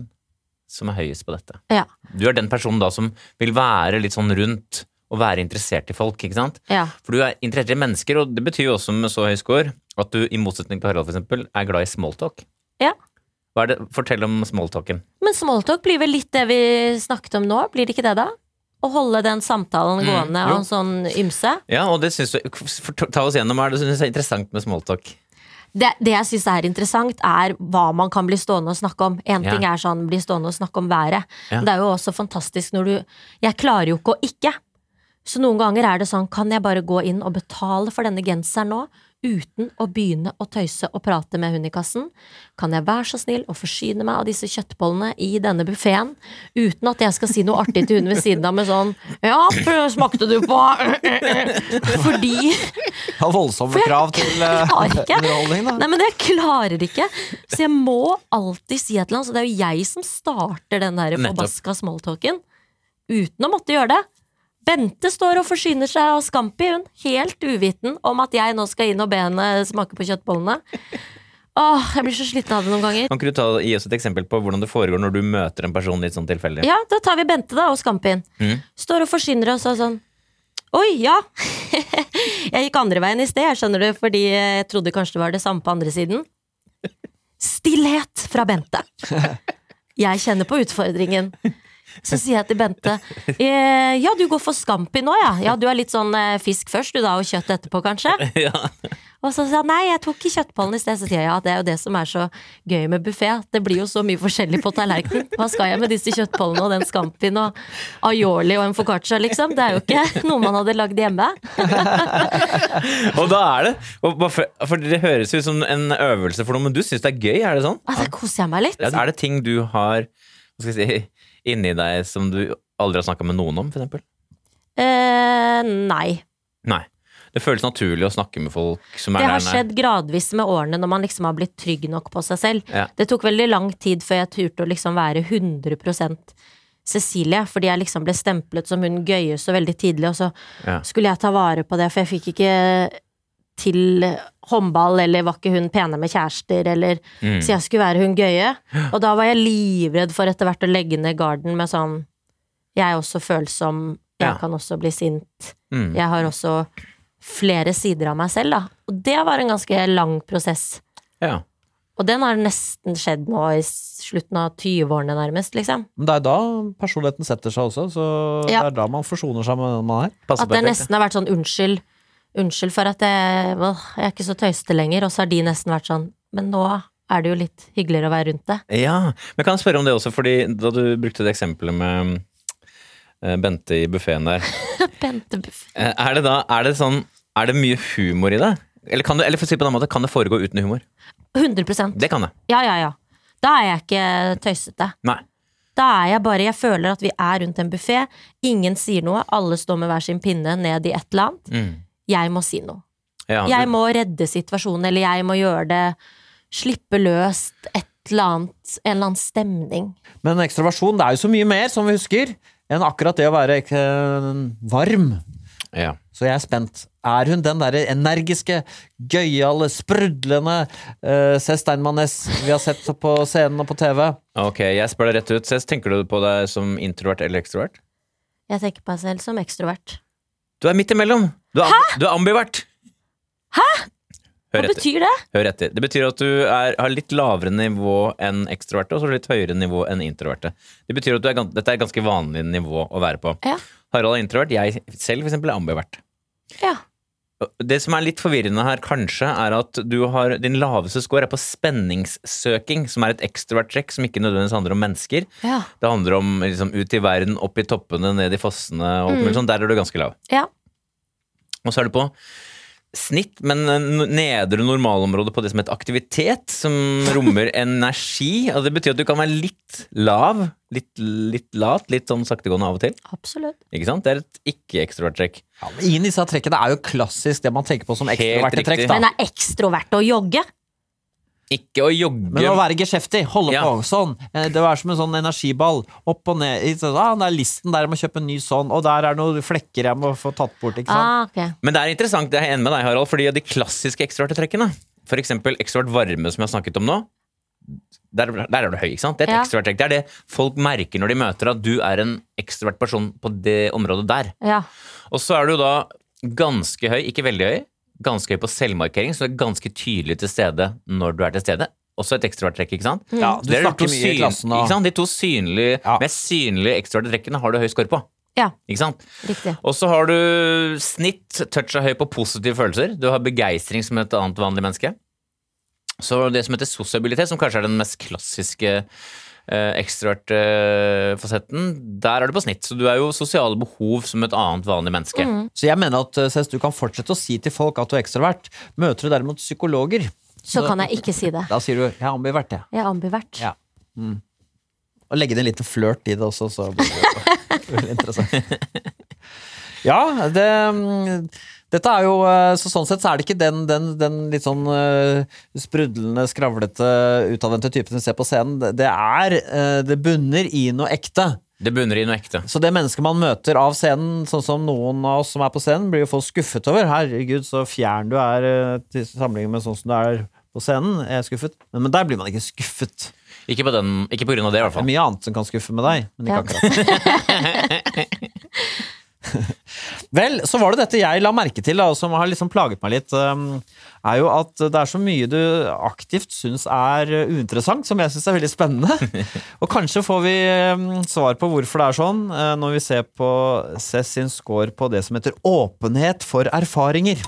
[SPEAKER 3] som er høyest på dette.
[SPEAKER 4] Ja.
[SPEAKER 3] Du er den personen da som vil være litt sånn rundt og være interessert i folk, ikke sant?
[SPEAKER 4] ja.
[SPEAKER 3] For du er interessert i mennesker, og det betyr jo også med så høy score at du, i motsetning til Harald for eksempel, er glad i smalltalk.
[SPEAKER 4] Ja.
[SPEAKER 3] Hva er det? Fortell om smalltalken.
[SPEAKER 4] Men smalltalk blir vel litt det vi snakket om nå? Blir det ikke det, da? Å holde den samtalen
[SPEAKER 3] Mm,
[SPEAKER 4] gående
[SPEAKER 3] jo.
[SPEAKER 4] og en sånn ymse.
[SPEAKER 3] Ja, og det synes du, for- ta oss gjennom, hva er det du synes er interessant med smalltalk?
[SPEAKER 4] Det, det jeg syns er interessant, er hva man kan bli stående og snakke om. Én
[SPEAKER 3] Ja.
[SPEAKER 4] ting er sånn bli stående og snakke om været.
[SPEAKER 3] Ja.
[SPEAKER 4] Det er jo også fantastisk når du Jeg klarer jo ikke å ikke. Så noen ganger er det sånn Kan jeg bare gå inn og betale for denne genseren nå? Uten å begynne å tøyse og prate med hun i kassen? Kan jeg være så snill å forsyne meg av disse kjøttbollene i denne buffeen? Uten at jeg skal si noe artig til hun ved siden av med sånn Ja, prøv- smakte du på Fordi
[SPEAKER 2] Har voldsomme krav til eh,
[SPEAKER 4] klarer ikke.
[SPEAKER 2] underholdning, da.
[SPEAKER 4] Nei, men jeg klarer ikke. Så jeg må alltid si et eller annet. Så det er jo jeg som starter den der
[SPEAKER 3] Nettopp.
[SPEAKER 4] forbaska smalltalken. Uten å måtte gjøre det. Bente står og forsyner seg av Scampi, hun. Helt uviten om at jeg nå skal inn og be henne smake på kjøttbollene. Åh, jeg blir så sliten av det noen ganger.
[SPEAKER 3] Kan ikke du ta, gi oss et eksempel på hvordan det foregår når du møter en person litt sånn tilfeldig?
[SPEAKER 4] Ja, da tar vi Bente da, og Skampien.
[SPEAKER 3] Mhm.
[SPEAKER 4] Står og forsyner oss og sånn. Oi, ja! jeg gikk andre veien i sted, jeg skjønner du, fordi jeg trodde kanskje det var det samme på andre siden. Stillhet fra Bente. Jeg kjenner på utfordringen. Så sier jeg til Bente eh, Ja, du går for Scampi nå, ja. ja. Du er litt sånn eh, fisk først, du da, og kjøtt etterpå, kanskje.
[SPEAKER 3] Ja.
[SPEAKER 4] Og så sa han nei, jeg tok ikke kjøttbollen i sted. Så sier jeg ja, det er jo det som er så gøy med buffé. Det blir jo så mye forskjellig på tallerkenen. Hva skal jeg med disse kjøttbollene og den scampien og aioli og en foccaccia, liksom? Det er jo ikke noe man hadde lagd hjemme.
[SPEAKER 3] Og da er det og bare for, for det høres ut som en øvelse for noe, men du syns det er gøy, er det sånn?
[SPEAKER 4] Ah, da koser jeg meg litt.
[SPEAKER 3] Er det ting du har hva skal jeg si, inni deg som du aldri har snakka med noen om, for eksempel?
[SPEAKER 4] Eh, nei.
[SPEAKER 3] Nei. Det føles naturlig å snakke med folk som er
[SPEAKER 4] Det har
[SPEAKER 3] der, nei.
[SPEAKER 4] skjedd gradvis med årene når man liksom har blitt trygg nok på seg selv.
[SPEAKER 3] Ja.
[SPEAKER 4] Det tok veldig lang tid før jeg turte å liksom være 100 Cecilie, fordi jeg liksom ble stemplet som hun gøye så veldig tidlig, og så
[SPEAKER 3] Ja.
[SPEAKER 4] skulle jeg ta vare på det, for jeg fikk ikke til håndball, eller var ikke hun pene med kjærester, eller
[SPEAKER 3] Mm.
[SPEAKER 4] Så jeg skulle være hun gøye. Og da var jeg livredd for etter hvert å legge ned garden med sånn Jeg er også følsom, jeg
[SPEAKER 3] Ja.
[SPEAKER 4] kan også bli sint.
[SPEAKER 3] Mm.
[SPEAKER 4] Jeg har også flere sider av meg selv, da. Og det var en ganske lang prosess.
[SPEAKER 3] Ja.
[SPEAKER 4] Og den har nesten skjedd nå i slutten av 20-årene, nærmest, liksom.
[SPEAKER 2] Men det er da personligheten setter seg også, så det
[SPEAKER 4] Ja.
[SPEAKER 2] er da man forsoner seg med den man er.
[SPEAKER 3] Passer
[SPEAKER 4] At det
[SPEAKER 3] perfekt,
[SPEAKER 4] nesten har vært sånn unnskyld. Unnskyld for at jeg, åh, jeg er ikke så tøyste lenger. Og så har de nesten vært sånn Men nå er det jo litt hyggeligere å være rundt det.
[SPEAKER 3] Ja, men kan jeg spørre om det også, fordi da du brukte det eksempelet med eh, Bente i buffeen der,
[SPEAKER 4] Bente Buff.
[SPEAKER 3] eh, er det da, er det sånn, er det mye humor i det? Eller, kan det, eller for å si på den måten, kan det foregå uten humor?
[SPEAKER 4] 100
[SPEAKER 3] Det kan det.
[SPEAKER 4] Ja, ja, ja. Da er jeg ikke tøysete.
[SPEAKER 3] Nei.
[SPEAKER 4] Da er jeg bare Jeg føler at vi er rundt en buffé. Ingen sier noe. Alle står med hver sin pinne ned i et eller annet. Jeg må si noe.
[SPEAKER 3] Ja, du-
[SPEAKER 4] Jeg må redde situasjonen, eller jeg må gjøre det Slippe løst et eller annet. En eller annen stemning.
[SPEAKER 2] Men ekstroversjon, det er jo så mye mer, som vi husker, enn akkurat det å være eh, varm.
[SPEAKER 3] ja.
[SPEAKER 2] Så jeg er spent. Er hun den derre energiske, gøyale, sprudlende eh, C. Steinmann-S vi har sett på scenen og på TV?
[SPEAKER 3] Ok, jeg spør deg rett ut. Cess, tenker du på deg som introvert eller ekstrovert?
[SPEAKER 4] Jeg tenker på meg selv som ekstrovert.
[SPEAKER 3] Du er midt imellom. Du er, du er ambivert. Hæ?
[SPEAKER 4] Hva
[SPEAKER 3] Hør etter.
[SPEAKER 4] betyr det?
[SPEAKER 3] Hør etter. Det betyr at du er, har litt lavere nivå enn ekstroverte, og så litt høyere nivå enn introverte. Det betyr at du er, gan- dette er et ganske vanlig nivå å være på.
[SPEAKER 4] Ja.
[SPEAKER 3] Harald er introvert, jeg selv for eksempel er ambivert.
[SPEAKER 4] Ja.
[SPEAKER 3] Det som er litt forvirrende her, kanskje, er at du har, din laveste score er på spenningssøking, som er et ekstrovert trekk som ikke nødvendigvis handler om mennesker.
[SPEAKER 4] Ja.
[SPEAKER 3] Det handler om liksom, ut i verden, opp i toppene, ned i fossene og alt mulig sånt. Der er du ganske lav.
[SPEAKER 4] ja.
[SPEAKER 3] Og så er det på snitt, men eh, n- nedre normalområde på det som heter aktivitet, som rommer energi. Og det betyr at du kan være litt lav, litt, litt lat, litt sånn saktegående av og til.
[SPEAKER 4] Absolutt.
[SPEAKER 3] Ikke sant? Det er et ikke-ekstrovert trekk.
[SPEAKER 2] Ja, men ingen av disse trekkene er jo klassisk det man tenker på som
[SPEAKER 3] Helt
[SPEAKER 2] ekstroverte trekk.
[SPEAKER 3] riktig.
[SPEAKER 2] da.
[SPEAKER 4] Men er ekstrovert å jogge?
[SPEAKER 3] Ikke å jogge
[SPEAKER 2] Men å være geskjeftig, holde
[SPEAKER 3] Ja.
[SPEAKER 2] på sånn. Eh, Det var som en sånn energiball. Opp og ned. i- så, Ah, den der listen der jeg må kjøpe en ny sånn, og der er det noen flekker jeg må få tatt bort. Ikke sant?
[SPEAKER 4] Ah, ok.
[SPEAKER 3] Men det er interessant, det er jeg enig med deg, Harald, fordi de klassiske ekstroverte trekkene, for eksempel ekstrovert varme som jeg har snakket om nå, der, der er du høy, ikke sant? Det er et
[SPEAKER 4] Ja.
[SPEAKER 3] ekstrovert trekk. Det er det folk merker når de møter at du er en ekstrovert person på det området der.
[SPEAKER 4] Ja.
[SPEAKER 3] Og så er du da ganske høy, ikke veldig høy, ganske høy på selvmarkering, så du er ganske tydelig til stede når du er til stede. Også et ekstrovert trekk, ikke
[SPEAKER 4] mm.
[SPEAKER 3] sant?
[SPEAKER 2] Ja, du
[SPEAKER 3] Det er de
[SPEAKER 2] snakker
[SPEAKER 3] to
[SPEAKER 2] mye i
[SPEAKER 3] syn-
[SPEAKER 2] klassen og
[SPEAKER 3] Ikke sant? De to synlige,
[SPEAKER 2] Ja.
[SPEAKER 3] mest synlige ekstroverte trekkene har du høy score på.
[SPEAKER 4] Ja.
[SPEAKER 3] Ikke sant?
[SPEAKER 4] Riktig.
[SPEAKER 3] Og så har du snitt, toucha høy på positive følelser. Du har begeistring som et annet vanlig menneske. Så det som heter sosialitet, som kanskje er den mest klassiske eh, ekstroverte eh, fasetten, der er du på snitt. Så du er jo sosiale behov som et annet vanlig menneske.
[SPEAKER 4] Mm.
[SPEAKER 2] Så jeg mener at eh, Cess, du kan fortsette å si til folk at du er ekstrovert. Møter du derimot psykologer,
[SPEAKER 4] Så kan jeg ikke si det.
[SPEAKER 2] da sier du 'jeg er ambivert', jeg.
[SPEAKER 4] Jeg er ambivert.
[SPEAKER 2] Ja. Og legge inn en liten flørt i det også, så blir det veldig interessant. Ja, det mm, dette er jo, eh, så Sånn sett så er det ikke den, den, den litt sånn eh, sprudlende, skravlete, utadvendte typen vi ser på scenen. Det- Det er eh, Det bunner i noe ekte.
[SPEAKER 3] Det bunner i noe ekte.
[SPEAKER 2] Så det mennesket man møter av scenen, sånn som noen av oss som er på scenen, blir jo folk skuffet over. Herregud, så fjern du er eh, til sammenligning med sånn som du er på scenen. Jeg er skuffet. Men, men der blir man ikke skuffet.
[SPEAKER 3] Ikke på, den, ikke på grunn av det, i hvert
[SPEAKER 2] Det er
[SPEAKER 3] fall.
[SPEAKER 2] mye annet som kan skuffe med deg, men ikke
[SPEAKER 4] Ja.
[SPEAKER 2] akkurat Vel, så var det dette jeg la merke til, da, og som har liksom plaget meg litt, um, er jo at det er så mye du aktivt syns er uh, uinteressant, som jeg syns er veldig spennende. og kanskje får vi um, svar på hvorfor det er sånn, uh, når vi ser på Cess sin score på det som heter åpenhet for erfaringer.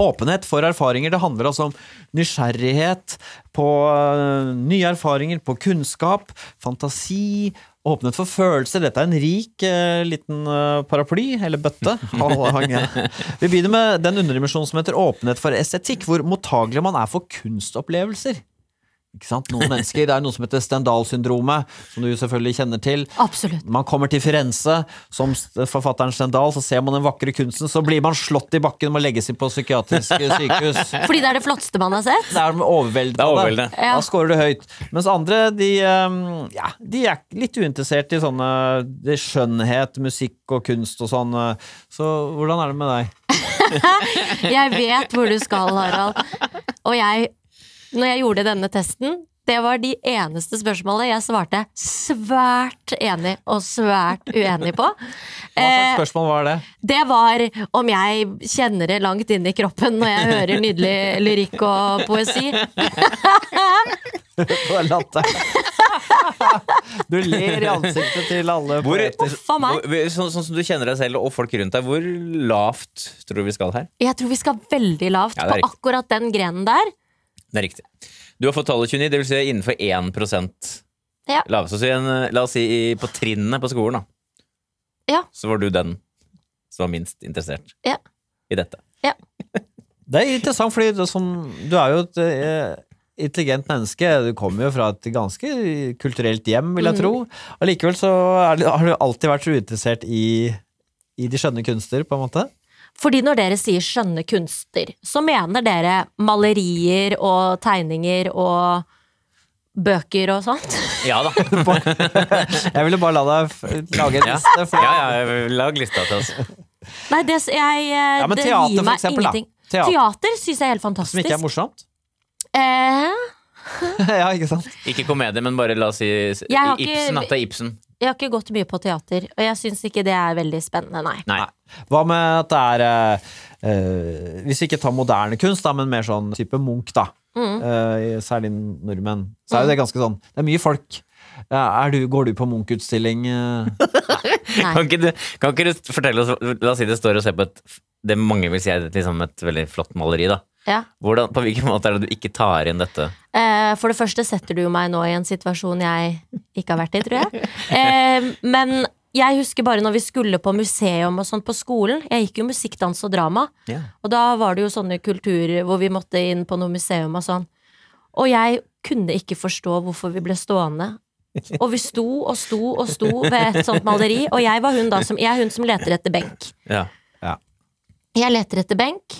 [SPEAKER 2] Åpenhet for erfaringer. Det handler altså om nysgjerrighet på øh, nye erfaringer, på kunnskap, fantasi. Åpenhet for følelser. Dette er en rik øh, liten øh, paraply, eller bøtte. Halvhang, ja. Vi begynner med den underdimensjonen som heter åpenhet for estetikk, hvor mottagelig man er for kunstopplevelser. Ikke sant? Noen mennesker, Det er noe som heter Stendal-syndromet, som du selvfølgelig kjenner til.
[SPEAKER 4] Absolutt.
[SPEAKER 2] Man kommer til Firenze, som forfatteren Stendal, så ser man den vakre kunsten, så blir man slått i bakken og må legges inn på psykiatrisk eh, sykehus.
[SPEAKER 4] Fordi det er det flotteste man har sett.
[SPEAKER 2] Det er overveldende.
[SPEAKER 3] Det er overveldende.
[SPEAKER 4] Ja.
[SPEAKER 2] Da scorer du høyt. Mens andre, de, eh, ja, de er litt uinteressert i sånne det er skjønnhet, musikk og kunst og sånn. eh. Så hvordan er det med deg?
[SPEAKER 4] Jeg vet hvor du skal, Harald. Og jeg, når jeg gjorde denne testen, det var de eneste spørsmålene jeg svarte svært enig og svært uenig på.
[SPEAKER 2] Hva
[SPEAKER 4] Eh,
[SPEAKER 2] slags spørsmål var det?
[SPEAKER 4] Det var om jeg kjenner det langt inn i kroppen når jeg hører nydelig lyrikk og poesi.
[SPEAKER 2] Det var latter. Du ler i ansiktet til alle
[SPEAKER 3] Hvor,
[SPEAKER 2] poeter.
[SPEAKER 4] Faen meg.
[SPEAKER 3] hvor- sånn, sånn som du kjenner deg selv og folk rundt deg, hvor lavt tror du vi skal her?
[SPEAKER 4] Jeg tror vi skal veldig lavt
[SPEAKER 3] Ja, det
[SPEAKER 4] på
[SPEAKER 3] er riktig.
[SPEAKER 4] akkurat den grenen der.
[SPEAKER 3] Det er riktig. Du har fått tallet 29, det vil si innenfor 1
[SPEAKER 4] Ja.
[SPEAKER 3] laveste. Så igjen, la oss si i- på trinnene på skolen, da.
[SPEAKER 4] Ja.
[SPEAKER 3] Så var du den som var minst interessert
[SPEAKER 4] Ja.
[SPEAKER 3] i dette.
[SPEAKER 2] Det er interessant, fordi du, som, du er jo et eh, intelligent menneske. Du kommer jo fra et ganske kulturelt hjem, vil jeg tro. Allikevel så er, det- har du alltid vært så uinteressert i, i de skjønne kunster, på en måte.
[SPEAKER 4] Fordi når dere sier skjønne kunster, så mener dere malerier og tegninger og bøker og sånt?
[SPEAKER 3] Ja da.
[SPEAKER 2] Jeg ville bare la deg f- lage en
[SPEAKER 3] Ja.
[SPEAKER 2] liste. For,
[SPEAKER 3] ja, ja, lag lista til oss.
[SPEAKER 4] Nei, det, s- jeg, eh,
[SPEAKER 2] Ja, men
[SPEAKER 4] det
[SPEAKER 2] teater,
[SPEAKER 4] gir
[SPEAKER 2] for
[SPEAKER 4] meg
[SPEAKER 2] eksempel, da.
[SPEAKER 4] ingenting.
[SPEAKER 2] Teater.
[SPEAKER 4] Teater syns jeg er helt
[SPEAKER 2] Som ikke er
[SPEAKER 4] fantastisk.
[SPEAKER 2] morsomt.
[SPEAKER 4] Eh,
[SPEAKER 2] ja, ikke sant?
[SPEAKER 3] Ikke komedie, men bare la oss si
[SPEAKER 4] har ikke-
[SPEAKER 3] Ibsen. At det er Ibsen.
[SPEAKER 4] jeg har ikke gått mye på teater, og jeg syns ikke det er veldig spennende, nei.
[SPEAKER 3] Nei.
[SPEAKER 2] Hva med at det er eh, eh, Hvis vi ikke tar moderne kunst, da, men mer sånn type Munch, da. eh, særlig nordmenn. Så er jo det ganske sånn Det er mye folk. Ja, er du, går du på Munch-utstilling? eh?
[SPEAKER 3] Kan ikke, du, kan ikke du fortelle oss La oss si det står og ser på et Det mange vil si er et- liksom et veldig flott maleri, da.
[SPEAKER 4] Ja.
[SPEAKER 3] Hvordan, på hvilken måte er det du ikke tar inn dette?
[SPEAKER 4] Eh, For det første setter du jo meg nå i en situasjon jeg ikke har vært i, tror jeg. Eh, Men jeg husker bare når vi skulle på museum og sånt på skolen. Jeg gikk jo musikk, dans og drama. Og da var det jo sånne kulturer hvor vi måtte inn på noe museum og sånn. Og jeg kunne ikke forstå hvorfor vi ble stående. Og vi sto og sto og sto ved et sånt maleri, og jeg var hun da som, jeg er hun som leter etter benk.
[SPEAKER 3] Ja.
[SPEAKER 4] Jeg leter etter benk,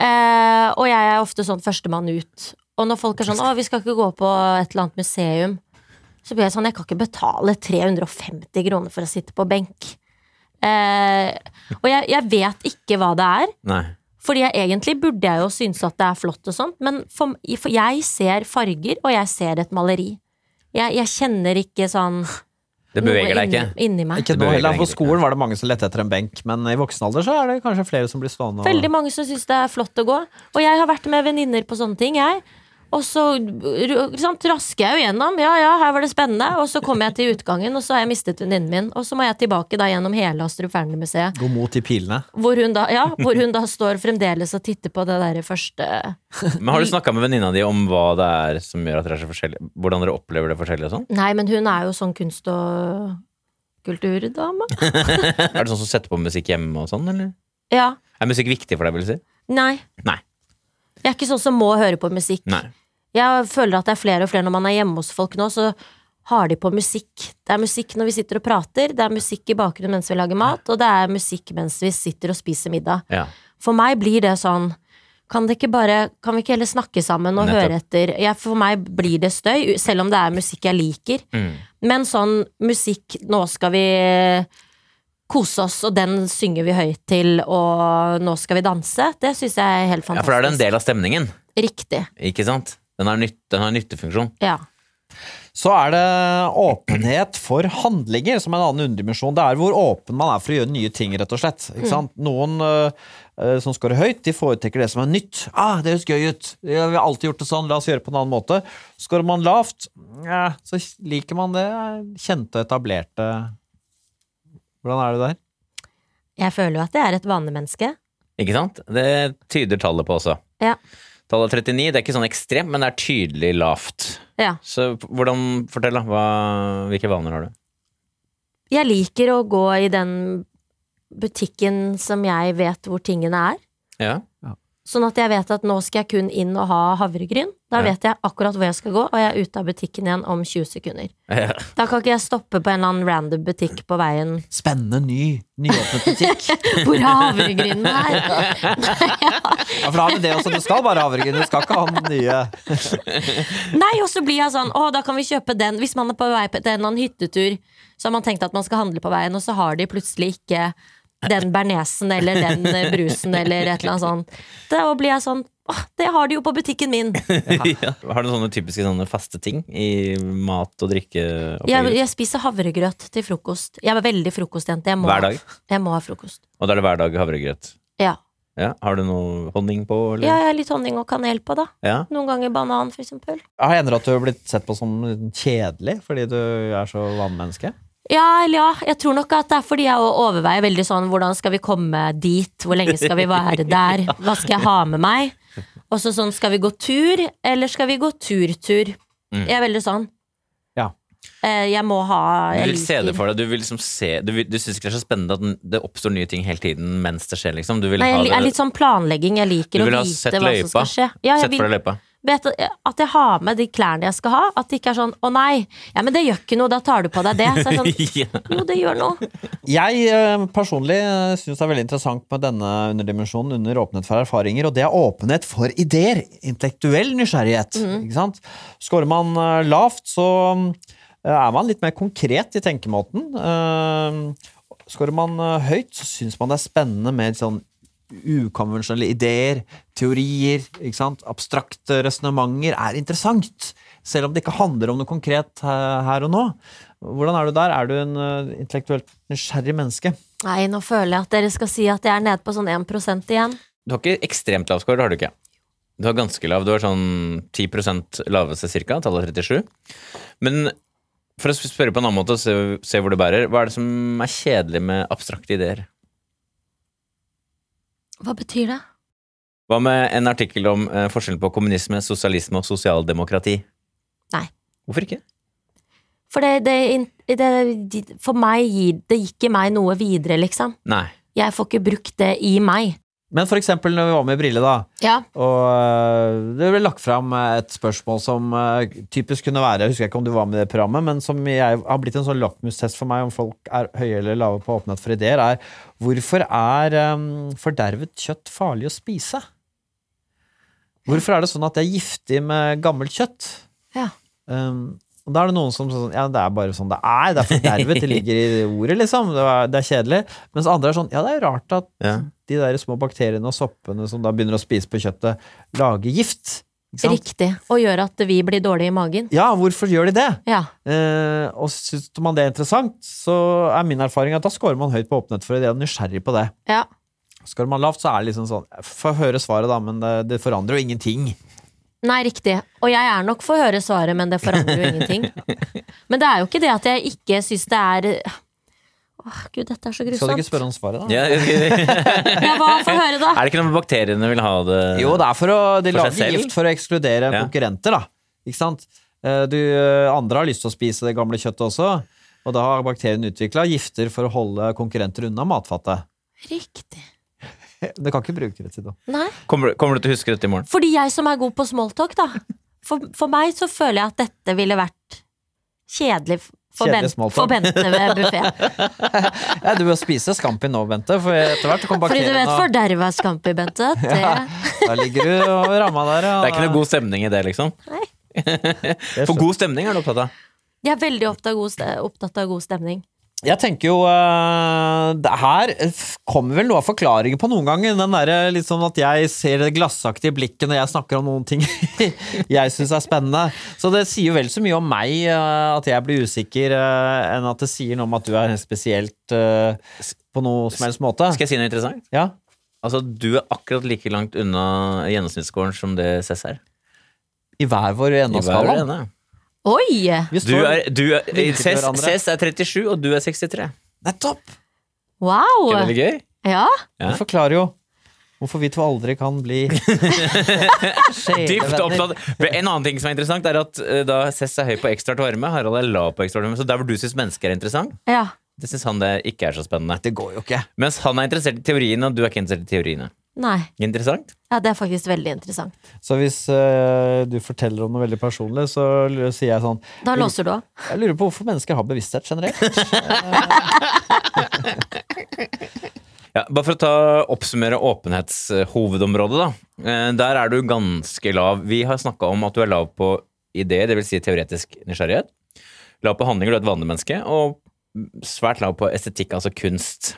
[SPEAKER 4] eh, og jeg er ofte sånn førstemann ut. Og når folk er sånn 'Å, vi skal ikke gå på et eller annet museum', så blir jeg sånn Jeg kan ikke betale 350 kroner for å sitte på benk. Eh, og jeg, jeg vet ikke hva det er.
[SPEAKER 3] Nei.
[SPEAKER 4] Fordi jeg egentlig burde jeg jo synes at det er flott og sånt, men for, for jeg ser farger, og jeg ser et maleri. Jeg, jeg kjenner ikke sånn
[SPEAKER 3] Det beveger
[SPEAKER 4] noe
[SPEAKER 3] deg ikke.
[SPEAKER 4] Inni, inni meg.
[SPEAKER 2] Ikke nå
[SPEAKER 3] beveger
[SPEAKER 2] heller.
[SPEAKER 3] deg
[SPEAKER 2] På
[SPEAKER 3] ikke.
[SPEAKER 2] skolen var det mange som lette etter en benk, men i voksen alder så er det kanskje flere som blir stående. og-
[SPEAKER 4] Veldig mange som syns det er flott å gå. Og jeg har vært med venninner på sånne ting, jeg. Og så ikke sant, rasker jeg jo gjennom. Ja, ja, her var det spennende. Og så kommer jeg til utgangen, og så har jeg mistet venninnen min. Og så må jeg tilbake da gjennom hele Astrup Fearnley-museet.
[SPEAKER 2] Gå mot de pilene.
[SPEAKER 4] Hvor, hun da- ja, hvor hun da står fremdeles og titter på det derre første
[SPEAKER 3] Men har du snakka med venninna di om hva det er som gjør at dere er så forskjellige? Hvordan dere opplever det forskjellig og sånn?
[SPEAKER 4] Nei, men hun er jo sånn kunst- og kulturdame.
[SPEAKER 3] Er det sånn som setter på musikk hjemme og sånn, eller?
[SPEAKER 4] Ja.
[SPEAKER 3] Er musikk viktig for deg, vil du si?
[SPEAKER 4] Nei.
[SPEAKER 3] Nei.
[SPEAKER 4] Jeg er ikke sånn som må høre på musikk.
[SPEAKER 3] Nei.
[SPEAKER 4] Jeg føler at det er flere og flere når man er hjemme hos folk nå, så har de på musikk. Det er musikk når vi sitter og prater, det er musikk i bakgrunnen mens vi lager mat, og det er musikk mens vi sitter og spiser middag.
[SPEAKER 3] Ja.
[SPEAKER 4] For meg blir det sånn kan, det ikke bare, kan vi ikke heller snakke sammen og
[SPEAKER 3] Nettopp.
[SPEAKER 4] høre etter? Jeg, for meg blir det støy, selv om det er musikk jeg liker.
[SPEAKER 3] Mm.
[SPEAKER 4] Men sånn musikk Nå skal vi eh, kose oss, og den synger vi høyt til, og nå skal vi danse. Det syns jeg er helt
[SPEAKER 3] ja,
[SPEAKER 4] fantastisk.
[SPEAKER 3] for da er det en del av stemningen,
[SPEAKER 4] Riktig.
[SPEAKER 3] ikke sant? Den har, nytt, den har nyttefunksjon.
[SPEAKER 4] Ja.
[SPEAKER 2] Så er det åpenhet for handlinger, som er en annen underdimensjon. Det er hvor åpen man er for å gjøre nye ting, rett og slett. Ikke sant? Noen øh, øh, som scorer høyt, de foretrekker det som er nytt. Ah, det høres gøy ut. Ja, vi har alltid gjort det sånn, la oss gjøre det på en annen måte. Scorer man lavt, ja, så liker man det kjente og etablerte Hvordan er det der?
[SPEAKER 4] Jeg føler jo at jeg er et vanemenneske.
[SPEAKER 3] Ikke sant? Det tyder tallet på også.
[SPEAKER 4] Ja.
[SPEAKER 3] Tallet 39 det er ikke sånn ekstremt, men det er tydelig lavt.
[SPEAKER 4] Ja.
[SPEAKER 3] Så hvordan, fortell da, hva, hvilke vaner har du?
[SPEAKER 4] Jeg liker å gå i den butikken som jeg vet hvor tingene er.
[SPEAKER 3] Ja.
[SPEAKER 4] Sånn at jeg vet at nå skal jeg kun inn og ha havregryn. Da
[SPEAKER 3] Ja.
[SPEAKER 4] vet jeg akkurat hvor jeg skal gå, og jeg er ute av butikken igjen om 20 sekunder.
[SPEAKER 3] Ja.
[SPEAKER 4] Da kan ikke jeg stoppe på en eller annen random butikk på veien
[SPEAKER 2] Spennende, ny, nyåpnet butikk.
[SPEAKER 4] hvor er havregrynen her.
[SPEAKER 2] Ja, for da har vi det også. Du skal bare ha havregryn, du skal ikke ha den nye.
[SPEAKER 4] Nei, og så blir jeg sånn, å, da kan vi kjøpe den. Hvis man er på vei på til en eller annen hyttetur, så har man tenkt at man skal handle på veien, og så har de plutselig ikke den bernesen eller den eh, brusen eller et eller annet sånt. Da blir jeg sånn, åh, det har de jo på butikken min.
[SPEAKER 3] Har du sånne typiske sånne faste ting i mat og drikke?
[SPEAKER 4] Jeg, jeg spiser havregrøt til frokost. Jeg er veldig frokostjente. Jeg må,
[SPEAKER 3] Hver dag?
[SPEAKER 4] Jeg må ha frokost.
[SPEAKER 3] Og da er det hver dag havregrøt?
[SPEAKER 4] Ja.
[SPEAKER 3] Ja. Har du noe honning på?
[SPEAKER 4] ja,
[SPEAKER 3] Eller?
[SPEAKER 4] jeg har litt honning og kanel på, da.
[SPEAKER 3] Ja.
[SPEAKER 4] Noen ganger banan, for eksempel.
[SPEAKER 2] Har det endret at du har blitt sett på som kjedelig fordi du er så vanemenneske?
[SPEAKER 4] Ja, eller ja. Jeg tror nok at det er fordi jeg også overveier veldig sånn hvordan skal vi komme dit, hvor lenge skal vi være der, hva skal jeg ha med meg? Og så sånn, skal vi gå tur, eller skal vi gå tur-tur?
[SPEAKER 3] Mm.
[SPEAKER 4] Jeg er veldig sånn.
[SPEAKER 2] Ja.
[SPEAKER 4] Eh, Jeg må ha
[SPEAKER 3] Du
[SPEAKER 4] jeg
[SPEAKER 3] vil se det for deg. Du, vil liksom se, du, vil- du syns ikke det er så spennende at den- det oppstår nye ting hele tiden mens det skjer, liksom? Du vil
[SPEAKER 4] Nei,
[SPEAKER 3] ha
[SPEAKER 4] jeg li-
[SPEAKER 3] det
[SPEAKER 4] er litt sånn planlegging. Jeg liker
[SPEAKER 3] Du
[SPEAKER 4] å
[SPEAKER 3] vil ha
[SPEAKER 4] vite
[SPEAKER 3] sett
[SPEAKER 4] hva som
[SPEAKER 3] løypa.
[SPEAKER 4] skal skje. Ja, jeg
[SPEAKER 3] Sett for
[SPEAKER 4] vil
[SPEAKER 3] deg løypa.
[SPEAKER 4] vet at, at jeg har med de klærne jeg skal ha. At det ikke er sånn 'Å nei, ja, men det gjør ikke noe, da tar du på deg det'. Så jeg er sånn,
[SPEAKER 3] Ja.
[SPEAKER 4] jo, det gjør noe.
[SPEAKER 2] Jeg eh, personlig eh, synes det er veldig interessant med denne underdimensjonen under åpenhet for erfaringer, og det er åpenhet for ideer. Intellektuell nysgjerrighet. ikke sant? Skårer man eh, lavt, så eh, er man litt mer konkret i tenkemåten. Eh, Skårer man eh, høyt, så syns man det er spennende med sånn ukonvensjonelle ideer, teorier, ikke sant? abstrakte resonnementer er interessant. Selv om det ikke handler om noe konkret eh, her og nå. Hvordan er du der? Er du en eh, intellektuelt nysgjerrig menneske?
[SPEAKER 4] Nei, nå føler jeg at dere skal si at jeg er nede på sånn 1 igjen.
[SPEAKER 3] Du har ikke ekstremt lav score, det har du ikke. Du har ganske lav. Du har sånn 10 laveste cirka, tallet 37. Men for å spørre på en annen måte og se, se hvor det bærer, hva er det som er kjedelig med abstrakte ideer?
[SPEAKER 4] Hva betyr det?
[SPEAKER 3] Hva med en artikkel om eh, forskjellen på kommunisme, sosialisme og sosialdemokrati?
[SPEAKER 4] Nei.
[SPEAKER 3] Hvorfor ikke?
[SPEAKER 4] For det, det, in- det For meg gir det gir ikke meg noe videre, liksom.
[SPEAKER 3] Nei.
[SPEAKER 4] Jeg får ikke brukt det i meg.
[SPEAKER 2] Men for eksempel når vi var med i Brille, da,
[SPEAKER 4] Ja.
[SPEAKER 2] og eh, det ble lagt fram et spørsmål som eh, typisk kunne være Jeg husker ikke om du var med i det programmet, men som jeg, har blitt en sånn lakmustest for meg om folk er høye eller lave på åpenhet for ideer, er hvorfor er eh, fordervet kjøtt farlig å spise? Hvorfor er det sånn at jeg er giftig med gammelt kjøtt?
[SPEAKER 4] Ja.
[SPEAKER 2] Um, og da er det noen som sånn Ja, det er bare sånn det er. Det er fordervet. Det ligger i ordet, liksom. Det er, det er kjedelig. Mens andre er sånn Ja, det er rart at
[SPEAKER 3] Ja.
[SPEAKER 2] de der små bakteriene og soppene som da begynner å spise på kjøttet, lager gift. Ikke sant?
[SPEAKER 4] Riktig. Og gjør at vi blir dårlige i magen.
[SPEAKER 2] Ja, hvorfor gjør de det?
[SPEAKER 4] Ja.
[SPEAKER 2] Eh, og syns man det er interessant, så er min erfaring at da scorer man høyt på åpenhet for det. Jeg er nysgjerrig på det.
[SPEAKER 4] ja.
[SPEAKER 2] Scorer man lavt, så er det liksom sånn Få høre svaret, da, men det, det forandrer jo ingenting.
[SPEAKER 4] Nei, riktig. Og jeg er nok for å høre svaret, men det forandrer jo ingenting. Men det er jo ikke det at jeg ikke syns det er Åh, gud, dette er så
[SPEAKER 2] Skal du ikke
[SPEAKER 4] grusomt.
[SPEAKER 2] spørre om svaret, da?
[SPEAKER 3] Ja, jeg skal-
[SPEAKER 4] Ja, hva? Få høre, da.
[SPEAKER 3] er det ikke noe med bakteriene vil ha det
[SPEAKER 2] Jo, det er for å De
[SPEAKER 3] Eh, For seg
[SPEAKER 2] lager
[SPEAKER 3] selv?
[SPEAKER 2] gift for å ekskludere
[SPEAKER 3] Ja.
[SPEAKER 2] konkurrenter, da. Ikke sant? Eh, Du, eh, andre har lyst til å spise det gamle kjøttet også, og da har bakterien utvikla gifter for å holde konkurrenter unna matfatet.
[SPEAKER 4] Riktig.
[SPEAKER 2] Du kan ikke bruke det til noe.
[SPEAKER 4] Nei.
[SPEAKER 3] Kommer, du- kommer du til å huske dette i morgen?
[SPEAKER 4] Fordi jeg som er god på smalltalk, da. For, for meg så føler jeg at dette ville vært kjedelig for,
[SPEAKER 2] Kjedelig
[SPEAKER 4] ben,
[SPEAKER 2] smalltalk.
[SPEAKER 4] for Bente ved buffeen.
[SPEAKER 2] Ja, du bør spise scampi nå, Bente, for etter hvert kommer
[SPEAKER 4] Fordi du
[SPEAKER 2] bakteriene
[SPEAKER 4] vet forderva scampi, Bente. Det,
[SPEAKER 2] Da ligger du og ramma der. Ja.
[SPEAKER 3] Det er ikke noe god stemning i det, liksom?
[SPEAKER 4] Nei.
[SPEAKER 3] For god stemning er du opptatt av.
[SPEAKER 4] jeg er veldig opptatt av god, ste- opptatt av god stemning.
[SPEAKER 2] Jeg tenker jo eh, det Her f- kommer vel noe av forklaringen på noen ganger. Den derre litt sånn at jeg ser det glassaktige blikket når jeg snakker om noen ting jeg syns er spennende. Så det sier jo vel så mye om meg eh, at jeg blir usikker, eh, enn at det sier noe om at du er spesielt eh, på noe som helst måte.
[SPEAKER 3] Skal jeg si noe interessant?
[SPEAKER 2] Ja.
[SPEAKER 3] Altså, Du er akkurat like langt unna gjennomsnittsscoren som det Cess er.
[SPEAKER 2] I hver vår
[SPEAKER 3] I hver
[SPEAKER 2] ennåskala.
[SPEAKER 3] ene.
[SPEAKER 4] Oi!
[SPEAKER 2] Vi
[SPEAKER 3] Du
[SPEAKER 2] står
[SPEAKER 3] er, du er,
[SPEAKER 2] Vinker til
[SPEAKER 3] Cess,
[SPEAKER 2] hverandre.
[SPEAKER 3] Cess er 37, og du er 63.
[SPEAKER 2] Nettopp!
[SPEAKER 4] Wow!
[SPEAKER 3] Ikke det veldig gøy?
[SPEAKER 4] Ja.
[SPEAKER 3] Ja.
[SPEAKER 2] Det forklarer jo hvorfor vi to aldri kan bli
[SPEAKER 3] Dypt
[SPEAKER 2] sjelevenner.
[SPEAKER 3] opptatt. En annen ting som er interessant, er at eh, da Cess er høy på ekstraart varme, Harald er lav på ekstraart varme. Så der hvor du syns mennesker er interessant,
[SPEAKER 4] ja.
[SPEAKER 3] det syns han det ikke er så spennende.
[SPEAKER 2] Det går jo ikke.
[SPEAKER 3] Mens han er interessert i teoriene, og du er ikke interessert i teoriene.
[SPEAKER 4] Nei.
[SPEAKER 3] Interessant?
[SPEAKER 4] Ja, det er faktisk veldig interessant.
[SPEAKER 2] Så hvis eh, du forteller om noe veldig personlig, så l- sier jeg sånn
[SPEAKER 4] Da låser du av.
[SPEAKER 2] Jeg lurer på hvorfor mennesker har bevissthet generelt.
[SPEAKER 3] Ja, bare for å ta, oppsummere åpenhetshovedområdet, da. Eh, Der er du ganske lav. Vi har snakka om at du er lav på ideer, dvs. Si teoretisk nysgjerrighet. Lav på handlinger, du er et vanlig menneske. Og svært lav på estetikk, altså kunst.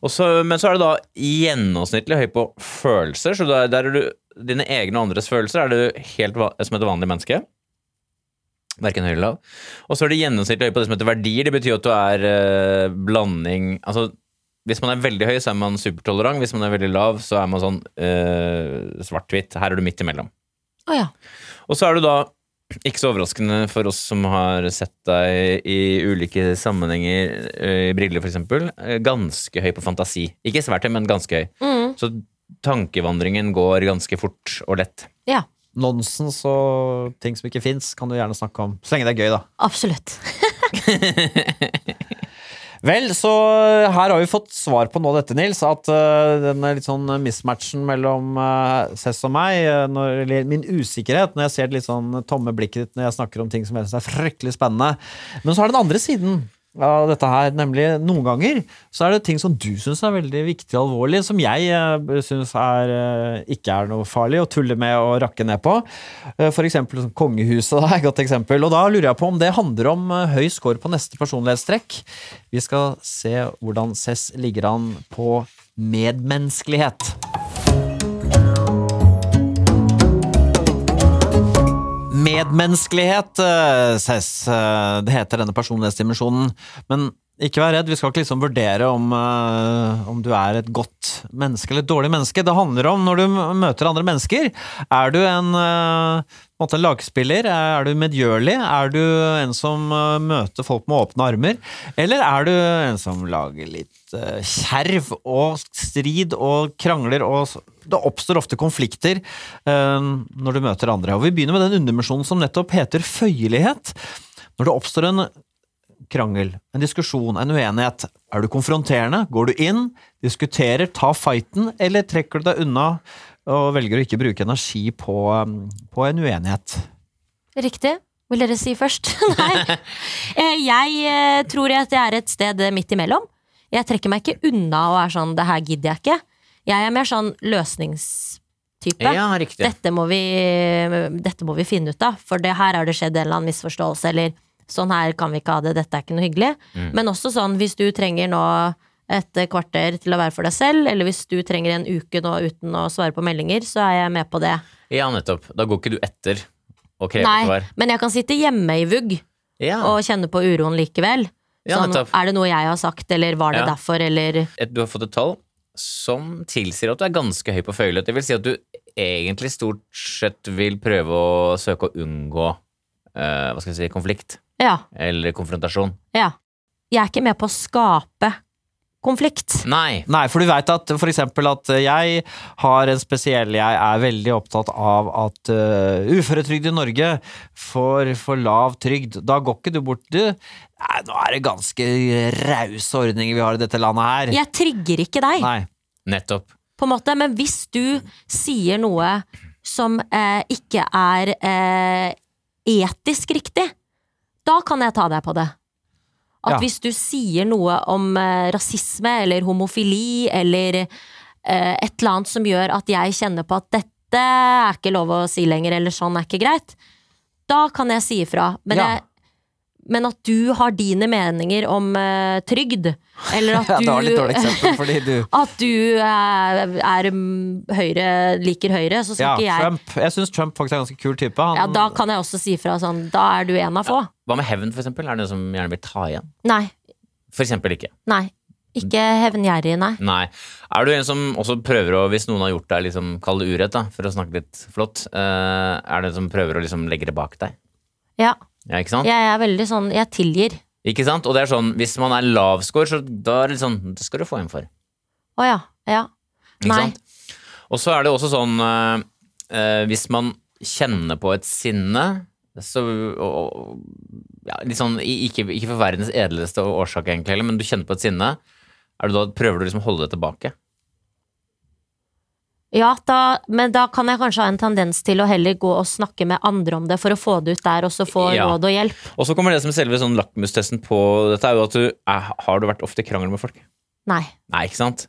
[SPEAKER 3] Og så- men så er du da gjennomsnittlig høy på følelser, så der, der er du Dine egne og andres følelser er du helt va- som et vanlig menneske. Verken høy eller lav. Og så er du gjennomsnittlig høy på det som heter verdier. Det betyr at du er eh, blanding Altså hvis man er veldig høy, så er man supertolerant. Hvis man er veldig lav, så er man sånn eh, svart-hvitt. Her er du midt imellom.
[SPEAKER 4] Å ja.
[SPEAKER 3] Og så er du da, ikke så overraskende for oss som har sett deg i ulike sammenhenger, eh, i briller f.eks., ganske høy på fantasi. Ikke svært høy, men ganske høy.
[SPEAKER 4] Mm.
[SPEAKER 3] Så tankevandringen går ganske fort og lett.
[SPEAKER 4] Ja.
[SPEAKER 2] Nonsens og ting som ikke fins, kan du gjerne snakke om. Så lenge det er gøy, da.
[SPEAKER 4] Absolutt.
[SPEAKER 2] Vel, så eh, her har vi fått svar på nå dette, Nils, at eh, denne litt sånn mismatchen mellom uh, Cess og meg, eh, når, eller min usikkerhet når jeg ser det litt sånn tomme blikket ditt når jeg snakker om ting som jeg synes er fryktelig spennende. Men så er det den andre siden av dette her, nemlig noen ganger så er det ting som du syns er veldig viktig og alvorlig, som jeg uh, syns er, eh, ikke er noe farlig å tulle med og rakke ned på. Eh, for eksempel sånn kongehuset da, er et godt eksempel. Og da lurer jeg på om det handler om eh, høy score på neste personlighetstrekk. Vi skal se hvordan Cess ligger an på medmenneskelighet. Medmenneskelighet, eh, Cess. eh, Det heter denne personlighetsdimensjonen. Men ikke vær redd, vi skal ikke liksom vurdere om, eh, om du er et godt menneske eller et dårlig menneske. Det handler om når du m- møter andre mennesker. Er du en, eh, på en måte en lagspiller? Er du medgjørlig? Er du en som eh, møter folk med åpne armer? Eller er du en som lager litt eh, kjerv og strid og krangler og s- det oppstår ofte konflikter eh, når du møter andre. Og vi begynner med den undermisjonen som nettopp heter føyelighet. Når det oppstår en krangel, en diskusjon, en uenighet, er du konfronterende? Går du inn, diskuterer, tar fighten, eller trekker du deg unna og velger å ikke bruke energi på, eh, på en uenighet?
[SPEAKER 4] Riktig. Vil dere si først? Nei. Eh, Jeg eh, tror at jeg er et sted eh, midt imellom. Jeg trekker meg ikke unna og er sånn 'det her gidder jeg ikke'. Jeg er mer sånn løsnings... type.
[SPEAKER 3] Ja, riktig.
[SPEAKER 4] Dette må, vi, dette må vi finne ut av, for det her har det skjedd en eller annen misforståelse, eller sånn her kan vi ikke ha det, dette er ikke noe hyggelig.
[SPEAKER 3] Mm.
[SPEAKER 4] Men også sånn, hvis du trenger nå et eh, kvarter til å være for deg selv, eller hvis du trenger en uke nå uten å svare på meldinger, så er jeg med på det.
[SPEAKER 3] Ja, nettopp. Da går ikke du etter og krever
[SPEAKER 4] Nei,
[SPEAKER 3] svar.
[SPEAKER 4] men jeg kan sitte hjemme i vugg
[SPEAKER 3] Ja.
[SPEAKER 4] og kjenne på uroen likevel.
[SPEAKER 3] Ja,
[SPEAKER 4] Sånn,
[SPEAKER 3] nettopp.
[SPEAKER 4] er det noe jeg har sagt, eller var det
[SPEAKER 3] Ja.
[SPEAKER 4] derfor, eller
[SPEAKER 3] Et, du har fått et tall som tilsier at du er ganske høy på føyelighet. Det vil si at du egentlig stort sett vil prøve å søke å unngå eh, hva skal jeg si, konflikt
[SPEAKER 4] Ja,
[SPEAKER 3] eller konfrontasjon.
[SPEAKER 4] ja. Jeg er ikke med på å skape konflikt.
[SPEAKER 3] Nei!
[SPEAKER 2] Nei, for du veit at for eksempel at jeg har en spesiell Jeg er veldig opptatt av at uh, uføretrygd i Norge får for lav trygd. Da går ikke du bort Du, nei, nå er det ganske rause ordninger vi har i dette landet
[SPEAKER 3] Mm.
[SPEAKER 2] her.
[SPEAKER 4] Jeg trigger ikke deg.
[SPEAKER 2] Nei.
[SPEAKER 3] Nettopp.
[SPEAKER 4] på en måte. Men hvis du sier noe som eh, ikke er eh, etisk riktig, da kan jeg ta deg på det. At
[SPEAKER 2] Ja.
[SPEAKER 4] hvis du sier noe om eh, rasisme eller homofili eller eh, et eller annet som gjør at jeg kjenner på at dette er ikke lov å si lenger, eller sånn er ikke greit, da kan jeg si ifra. Men,
[SPEAKER 2] Ja.
[SPEAKER 4] jeg, men at du har dine meninger om eh, trygd, eller at
[SPEAKER 2] Ja,
[SPEAKER 4] du
[SPEAKER 2] det var litt dårlig eksempel, fordi du
[SPEAKER 4] at du er, er mm, høyre, liker høyre,
[SPEAKER 2] Ja,
[SPEAKER 4] så skal Sånn ikke jeg
[SPEAKER 2] Trump. Jeg syns Trump faktisk er en ganske kul type. Han,
[SPEAKER 4] ja, Da kan jeg også si fra sånn, da er du en av få.
[SPEAKER 3] Hva med hevn, for eksempel? Er det noe som gjerne vil ta igjen?
[SPEAKER 4] Nei,
[SPEAKER 3] For eksempel ikke.
[SPEAKER 4] nei. Ikke hevngjerrig, nei.
[SPEAKER 3] Nei. Er du en som også prøver å, hvis noen har gjort deg liksom, kall det urett, da, for å snakke litt flott, eh, er du en som prøver å liksom legge det bak deg?
[SPEAKER 4] Ja,
[SPEAKER 3] Ja, ikke sant?
[SPEAKER 4] jeg er veldig sånn, jeg tilgir.
[SPEAKER 3] Ikke sant? Og det er sånn, hvis man er lavscore, så da er det litt sånn, det skal du få igjen for.
[SPEAKER 4] Å ja, ja.
[SPEAKER 3] Ikke
[SPEAKER 4] Nei.
[SPEAKER 3] sant? Og så er det også sånn eh, eh, Hvis man kjenner på et sinne så, og, og, ja, litt sånn, i- ikke, ikke for verdens edleste årsak, egentlig, heller, men du kjenner på et sinne. Er du da, prøver du liksom å holde det tilbake?
[SPEAKER 4] Ja, da, men da kan jeg kanskje ha en tendens til å heller gå og snakke med andre om det for å få det ut der, og så få
[SPEAKER 3] Ja.
[SPEAKER 4] råd og hjelp.
[SPEAKER 3] Og så kommer det som selve sånn lakmustesten på dette, er jo at du eh, Har du vært ofte i krangel med folk?
[SPEAKER 4] Nei.
[SPEAKER 3] Nei, ikke sant?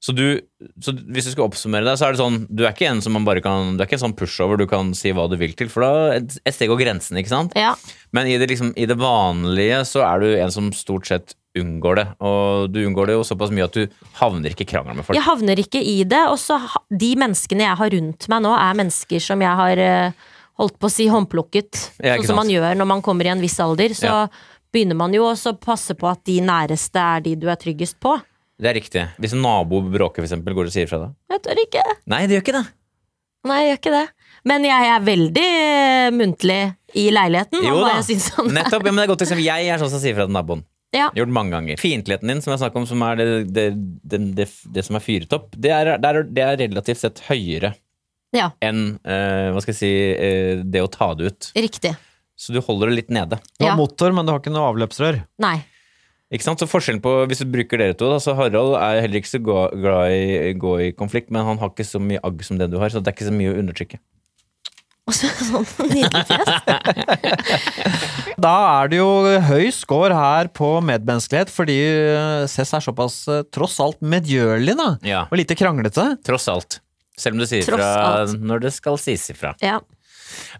[SPEAKER 3] Så, du, så hvis du skal oppsummere deg, så er det sånn Du er ikke en som man bare kan Du er ikke en sånn pushover du kan si hva du vil til, for da et, et steg går grensen, ikke sant?
[SPEAKER 4] Ja.
[SPEAKER 3] Men i det, liksom, i det vanlige så er du en som stort sett unngår det. Og du unngår det jo såpass mye at du havner ikke i krangel med folk.
[SPEAKER 4] Jeg havner ikke i det. Og så ha- de menneskene jeg har rundt meg nå, er mennesker som jeg har eh, holdt på å si håndplukket.
[SPEAKER 3] Ja, ikke
[SPEAKER 4] sånn som man
[SPEAKER 3] sant.
[SPEAKER 4] gjør når man kommer i en viss alder. Så
[SPEAKER 3] Ja.
[SPEAKER 4] begynner man jo også å passe på at de næreste er de du er tryggest på.
[SPEAKER 3] Det er riktig. Hvis en nabo bråker, for eksempel, går du og sier fra da?
[SPEAKER 4] Jeg tør ikke.
[SPEAKER 3] Nei, det gjør ikke det.
[SPEAKER 4] Nei, jeg gjør ikke det. Men jeg er veldig eh, muntlig i leiligheten.
[SPEAKER 3] Jo
[SPEAKER 4] og
[SPEAKER 3] da.
[SPEAKER 4] bare synes sånn.
[SPEAKER 3] Nettopp. Ja, men det er godt eksempel. Jeg er sånn som sier fra til naboen.
[SPEAKER 4] Ja.
[SPEAKER 3] Gjort mange ganger. Fiendtligheten din, som jeg snakker om, som er det, det, det, det, det som er fyret opp, det er, det, er, det er relativt sett høyere
[SPEAKER 4] ja,
[SPEAKER 3] enn eh, hva skal jeg si, eh, det å ta det ut.
[SPEAKER 4] riktig.
[SPEAKER 3] Så du holder det litt nede.
[SPEAKER 2] Du har
[SPEAKER 4] Ja.
[SPEAKER 2] motor, men du har ikke noe avløpsrør.
[SPEAKER 4] Nei.
[SPEAKER 3] Ikke sant? Så forskjellen på, Hvis du bruker dere to, da, så Harald er heller ikke så ga- glad i gå i konflikt, men han har ikke så mye agg som det du har, så det er ikke så mye å undertrykke.
[SPEAKER 4] Og så sånn nydelig fjes.
[SPEAKER 2] Da er det jo høy score her på medmenneskelighet, fordi eh, Cess er såpass eh, tross alt medgjørlig, da.
[SPEAKER 3] Ja.
[SPEAKER 2] Og lite kranglete.
[SPEAKER 3] Tross alt. Selv om du sier
[SPEAKER 4] Tross
[SPEAKER 3] fra
[SPEAKER 4] alt.
[SPEAKER 3] når det skal sies ifra.
[SPEAKER 4] Ja.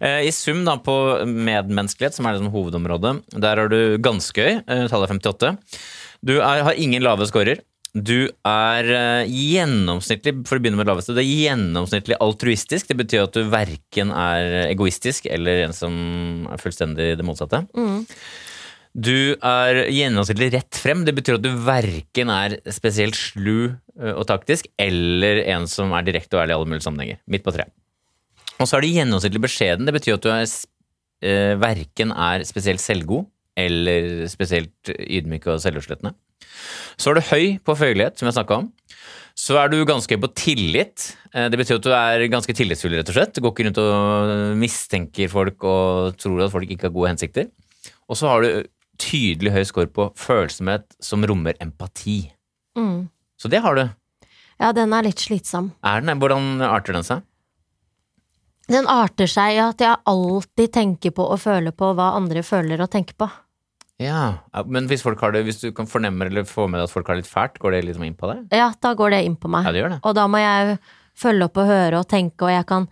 [SPEAKER 3] Eh, I sum da på medmenneskelighet, som er liksom hovedområdet, der er du ganske høy. eh, Tallet er 58. Du er, har ingen lave scorer. Du er eh, gjennomsnittlig for å begynne med det laveste, du er gjennomsnittlig altruistisk. Det betyr at du verken er egoistisk eller en som er fullstendig det motsatte.
[SPEAKER 4] Mm.
[SPEAKER 3] Du er gjennomsnittlig rett frem. Det betyr at du verken er spesielt slu ø, og taktisk, eller en som er direkte og ærlig i alle mulige sammenhenger. Midt på treet. Og så er du gjennomsnittlig beskjeden. Det betyr at du er, s- ø, verken er spesielt selvgod eller spesielt ydmyk og selvutslettende. Så er du høy på føyelighet, som jeg snakka om. Så er du ganske høy på tillit. Eh, Det betyr at du er ganske tillitsfull, rett og slett. Du går ikke rundt og mistenker folk og tror at folk ikke har gode hensikter. Og så har du tydelig høy score på følsomhet som rommer empati.
[SPEAKER 4] Mm.
[SPEAKER 3] Så det har du.
[SPEAKER 4] ja, den er litt slitsom.
[SPEAKER 3] Er den, hvordan arter den seg?
[SPEAKER 4] Den arter seg i at jeg alltid tenker på og føler på hva andre føler og tenker på.
[SPEAKER 3] Ja, ja, Men hvis, folk har det, hvis du kan fornemme eller få med deg at folk har det litt fælt, går det liksom inn på deg?
[SPEAKER 4] Ja, da går det inn på
[SPEAKER 3] Ja,
[SPEAKER 4] meg.
[SPEAKER 3] det gjør det.
[SPEAKER 4] Og da må jeg følge opp og høre og tenke, og jeg kan